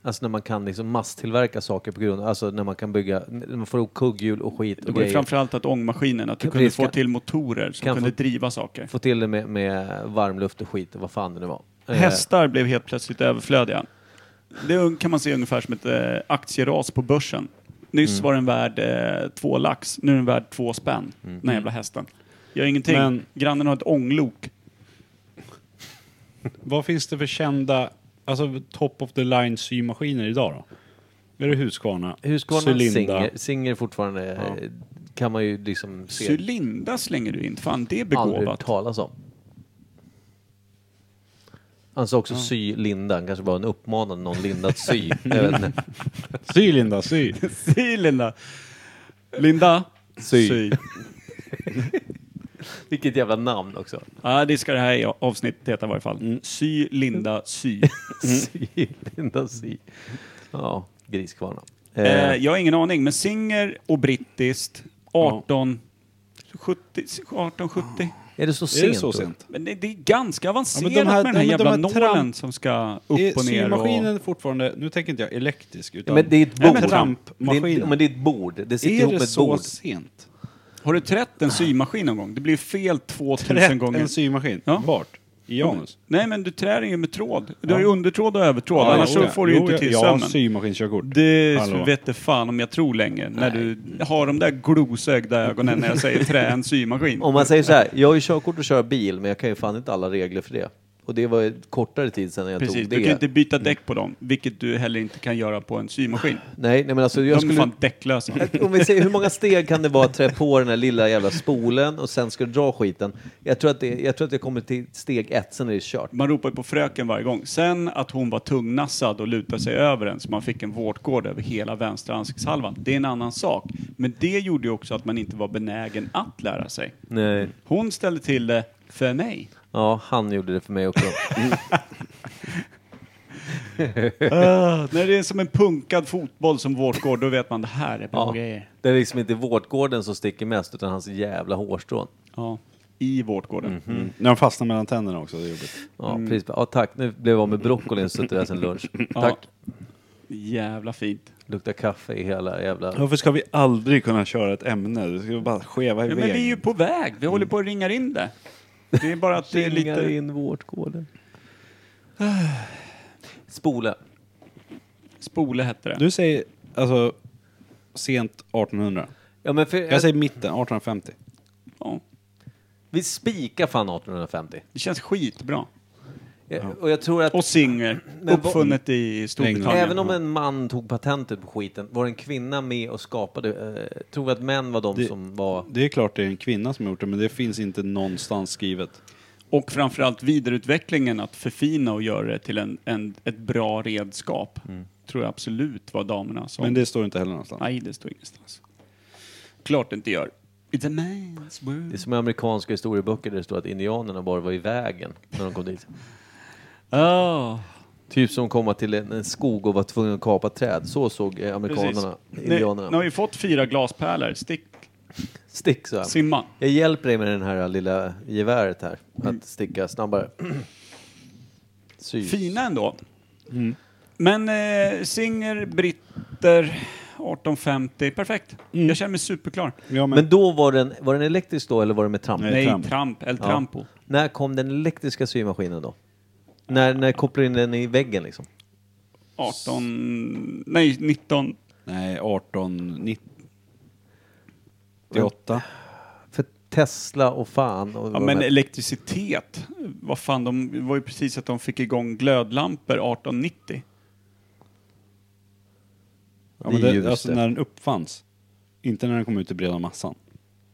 S3: alltså när man kan liksom masstillverka saker på grund alltså när man kan bygga, när man får ihop kugghjul och skit
S2: Det
S3: och
S2: var ju
S3: grejer.
S2: framförallt att ångmaskinen, att du
S3: Kan-
S2: kunde
S3: precis,
S2: få
S3: kan-
S2: till motorer som
S3: kan
S2: kunde
S3: få-
S2: driva saker.
S3: Få till det med, med varmluft och skit och vad fan det nu var. Eh,
S2: Hästar blev helt plötsligt överflödiga. Det är un- kan man se ungefär som ett eh, aktieras på börsen. Nyss
S3: Mm.
S2: var den värd eh, två lax, nu är den värd två spänn.
S3: Mm.
S2: Den här jävla hästen. Gör ingenting.
S4: Men-
S2: Grannen har ett ånglok.
S4: Vad finns det för kända, alltså top of the line symaskiner idag då? Är det Husqvarna?
S3: Husqvarna,
S4: Cylinda?
S3: Singer, Singer fortfarande eh, kan man ju liksom se
S2: Cylinda slänger du in. Fan, det är
S3: aldrig hört
S2: begåvat.
S3: talas om. Han sa också sy lindan, kanske bara en uppmanan någon linda att sy. Jag vet inte.
S4: Sy Linda, sy!
S2: Sy, Linda. Linda.
S3: Sy. Vilket jävla namn också.
S2: Ja, det ska det här avsnittet heta i varje fall.
S4: Mm.
S2: Sy, Linda, sy.
S3: Sy, Linda Sy. Ja, griskvarna. Eh,
S2: Eh, jag har ingen aning, men Singer och brittiskt, 1870, 1870.
S3: är det så sent?
S4: Är det så
S3: då?
S4: sent?
S2: Men det, det är ganska avancerat
S4: Ja, men de här-
S2: med den här
S4: ja, men de
S2: jävla
S4: här tramp-
S2: nålen som ska upp
S4: Är
S2: och ner.
S4: symaskinen
S2: Och,
S4: fortfarande, nu tänker inte jag elektrisk,
S3: Ja,
S4: utan...
S3: men det är ett bord.
S4: Nej, men
S3: Det är,
S4: trampmaskinen.
S3: ja, men det är ett bord. Det sitter
S4: är
S3: ihop
S4: det
S3: med ett
S4: så
S3: bord.
S4: sent?
S2: har du trätt en symaskin någon gång? Det blir fel 2000
S4: Rätt
S2: gånger.
S4: Ah. en symaskin?
S2: Ja.
S4: Vart? I Janus?
S2: Nej, men du trär ju med tråd. Du har ju undertråd och övertråd, annars
S4: jo,
S2: så får du ju
S4: jo,
S2: inte till
S4: Jag har
S2: sömmen.
S4: symaskinskörkort.
S2: Det
S4: Hallå.
S2: vet du fan om jag tror längre. När du har de där glosögda ögonen när jag säger trä en symaskin.
S3: Om man säger så här, jag har ju körkort och kör bil, men jag kan ju fan inte alla regler för det. Och det var ett kortare tid sedan jag
S2: Precis,
S3: tog det.
S2: du kan inte byta däck på dem, vilket du heller inte kan göra på en symaskin.
S3: Nej, nej men alltså
S2: De
S3: jag
S2: är
S3: skulle...
S2: fan däcklösa.
S3: Om vi säger hur många steg kan det vara att trä på den här lilla jävla spolen och sen ska du dra skiten? Jag tror att det, jag tror att jag kommer till steg ett, sen är det kört.
S2: Man ropar ju på fröken varje gång. Sen att hon var tungnassad och lutade sig över en så man fick en vårtgård över hela vänstra ansiktshalvan. Det är en annan sak. Men det gjorde ju också att man inte var benägen att lära sig.
S3: Nej.
S2: Hon ställde till det för mig.
S3: Ja, han gjorde det för mig också.
S2: Ah, När det är som en punkad fotboll som vårtgård, då vet man det här är bra
S3: Ja.
S2: grejer.
S3: Det är liksom inte vårtgården som sticker mest, utan hans jävla hårstrån.
S2: Ja. I vårtgården.
S3: Mhm.
S4: Mm. När de fastnar mellan tänderna också, det är jobbigt.
S3: Ja,
S2: Mm.
S3: precis. Ja, tack. Nu blev jag av med broccolin, suttit där sen lunch. Tack.
S2: Jävla fint.
S3: Luktar kaffe i hela jävla...
S4: Varför ska vi aldrig kunna köra ett ämne? Det ska bara skeva
S2: Ja,
S4: iväg.
S2: men vi är ju på väg. Vi håller på att ringa in det. Det är bara att det är
S3: Ringar
S2: lite... Ah.
S3: in vårtgården. Spole.
S2: Spole hette det.
S4: Du säger alltså sent 1800.
S3: Ja, men för,
S4: Jag säger mitten, 1850.
S2: Ja.
S3: Vi spikar fan 1850.
S2: Det känns skitbra.
S3: Jag- Eh, Och jag tror att...
S2: Och Singer,
S3: Men vad-
S2: uppfunnet i Storbritannien.
S3: Även om en man tog patentet på skiten, var en kvinna med och skapade? Eh, tror vi att män var de
S4: Det-
S3: som var...
S4: Det är klart det är en kvinna som har gjort det, men det finns inte någonstans skrivet.
S2: Och framförallt vidareutvecklingen, att förfina och göra det till en, en, ett bra redskap.
S3: Mm.
S2: Tror jag absolut var damerna som...
S4: Men det står inte heller någonstans.
S2: Nej, det står ingenstans. Klart det inte gör. It's a man's
S3: Det
S2: world.
S3: är som i amerikanska historieböcker där det står att indianerna bara var i vägen när de kom dit.
S2: Oh.
S3: Typ som komma till en, en skog och var tvungen att kapa träd. Så såg eh,
S2: Precis.
S3: amerikanerna,
S2: Nu,
S3: indianerna.
S2: nu har vi fått fyra glaspärlor. Stick,
S3: Stick så här.
S2: simma.
S3: Jag hjälper dig med den här lilla geväret här.
S2: Mm.
S3: Att sticka snabbare. Sy.
S2: Fina ändå.
S4: Mm.
S2: Men eh, Singer, britter, 1850. Perfekt.
S4: Mm.
S2: Jag känner mig superklar.
S4: Ja, men,
S3: Men då var den, var den elektrisk då eller var den med tramp?
S4: Nej.
S2: Nej,
S4: Tramp.
S2: Tramp. El
S3: Ja.
S2: Trampo.
S3: När kom den elektriska symaskinen då? När, när kopplade in den i väggen liksom?
S2: 18... Nej, 19...
S4: nej, 1898.
S3: För Tesla och fan och
S2: Ja, men elektricitet. Vad fan, de det var ju precis att de fick igång glödlampor 1890.
S4: Ja, men det,
S3: Just
S4: alltså
S3: det.
S4: när den uppfanns. Inte när den kom ut i breda massan.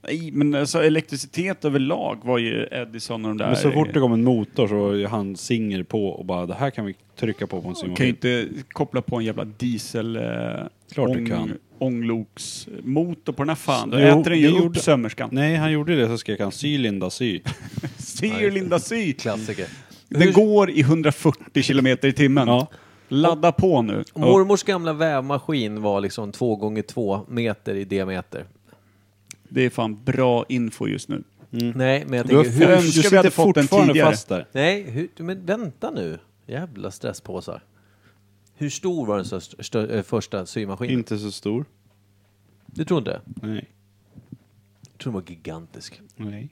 S2: Nej, men alltså elektricitet överlag var ju Edison och de där...
S4: Men så fort det kom en motor så var ju han singer på och bara det här kan vi trycka på på en
S2: kan ju
S4: symaskin.
S2: inte koppla på en jävla diesel... Eh,
S4: Klart du kan.
S2: Ångloksmotor på den här fan. Då
S4: Jo,
S2: äter den ju
S4: det
S2: upp
S4: gjorde-
S2: sömmerskan.
S4: Nej, han gjorde det så skrek han sy Linda sy.
S2: Ser Linda Sy!
S3: klassiker.
S2: Den går i 140 kilometer i timmen.
S4: Ja.
S2: Ladda på nu.
S4: Mm.
S3: Mormors gamla vävmaskin var liksom två gånger två meter i diameter.
S2: Det är fan bra info just nu.
S3: Nej, men
S4: Mm.
S3: jag
S4: Du
S3: tänker hur...
S2: önskar vi hade fått den tidigare.
S4: fast där.
S3: Nej, hur, men vänta nu. Jävla stresspåsar. Hur stor var den störst, stör, eh, första symaskinen?
S4: Inte så stor.
S3: Du tror inte? det?
S4: Nej.
S3: Jag tror den var gigantisk.
S4: Nej.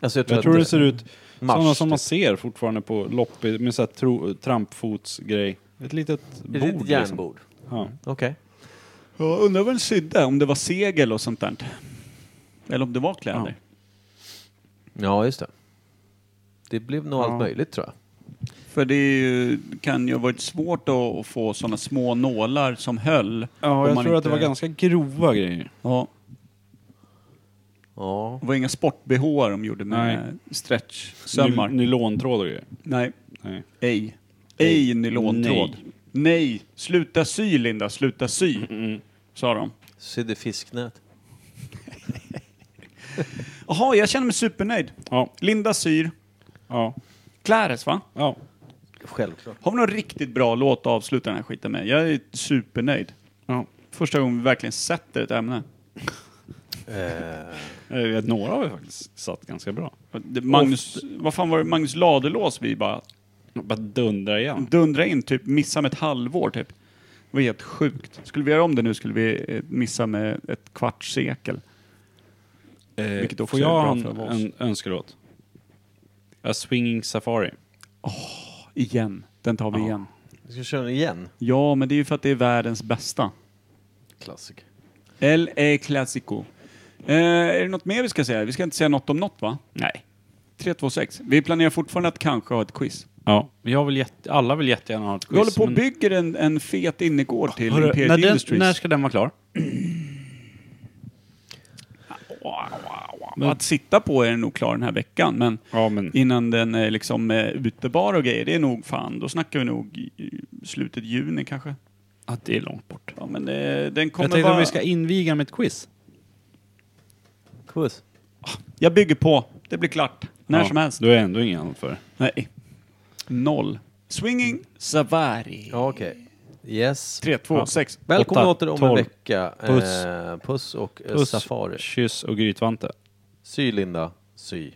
S3: Alltså jag tror,
S4: Jag tror
S3: att
S4: det ser ut
S3: Mars,
S4: sådana som man
S3: typ.
S4: ser fortfarande på loppis med så här tro, trampfotsgrej. Ett litet
S3: Är
S4: bord.
S3: det ett
S4: liksom.
S3: järnbord?
S4: Ja.
S3: Okej.
S2: Jag undrar vad den sydde, om det var segel och sånt där. Eller om det var kläder.
S3: Ja, just det. Det blev nog allt möjligt tror jag.
S2: För det är ju, kan ju ha varit svårt att, att få sådana små nålar som höll. om
S4: ja, jag
S2: man
S4: tror att det
S2: inte-
S4: var ganska grova grejer.
S2: Ja,
S3: Ja.
S2: det var inga sport-bh de gjorde med stretch-sömmar.
S4: Ny, nylontråd och grejer.
S2: Nej.
S4: Nej.
S2: Ej. Ej nylontråd. Nej. Sluta sy Linda, sluta sy.
S4: Mm,
S2: Sa de.
S3: Sydde fisknät.
S2: Jaha, jag känner mig supernöjd.
S4: Ja,
S2: Linda syr.
S4: ja,
S2: Clares va?
S4: ja.
S3: Självklart.
S2: Har vi någon riktigt bra låt att avsluta den här skiten med? Jag är supernöjd.
S4: ja.
S2: Första gången vi verkligen sätter ett ämne.
S4: Eh, Jag vet, några har vi faktiskt satt ganska bra.
S2: Det- Magnus, vad fan var det? Magnus Ladulås vi bara
S4: Bara dundra igen.
S2: dundra in, typ missa med ett halvår typ. Det var helt sjukt. Skulle vi göra om det nu skulle vi eh, missa med ett kvarts sekel. vilket också
S4: Eh, Får
S2: är
S4: jag
S2: bra
S4: en,
S2: för oss.
S4: en önskelåt? A Swinging Safari.
S2: Igen. Den tar vi igen.
S3: Vi ska köra den igen.
S2: Ja, men det är ju för att det är världens bästa.
S3: Klassiker.
S2: El E Clasico. Eh, är det något mer vi ska säga? Vi ska inte säga något om något va? Nej. 326. Vi planerar fortfarande att kanske ha ett quiz.
S4: Ja, jag vill jätte, alla vill jättegärna ha ett quiz.
S2: Vi håller på och
S4: men-
S2: bygger en, en fet innergård till
S4: Hörru,
S2: Imperial
S4: när, den,
S2: Industries.
S4: när ska den vara klar?
S2: Att sitta på är den nog klar den här veckan, men
S4: Ja, men
S2: innan den är liksom eh, utebar och grejer, det är nog fan, då snackar vi nog i- i slutet juni kanske.
S4: att det är långt bort.
S2: Ja, men eh, den
S4: Jag
S2: kommer
S4: tänkte
S2: vara...
S4: att vi ska inviga med ett quiz.
S3: Quiz.
S2: Jag bygger på. Det blir klart. När
S4: Ja,
S2: som helst.
S4: Då är ändå inget annat för.
S2: Nej. Noll. Swinging Savari.
S3: Ja, okej. Yes.
S2: 3, 2, 6.
S3: Välkomna
S4: Åtta,
S3: åter om en
S4: tolv.
S3: vecka.
S4: Puss.
S3: Eh, puss och eh,
S4: Puss,
S3: Safari.
S4: kyss och grytvante.
S3: Sy Linda, sy.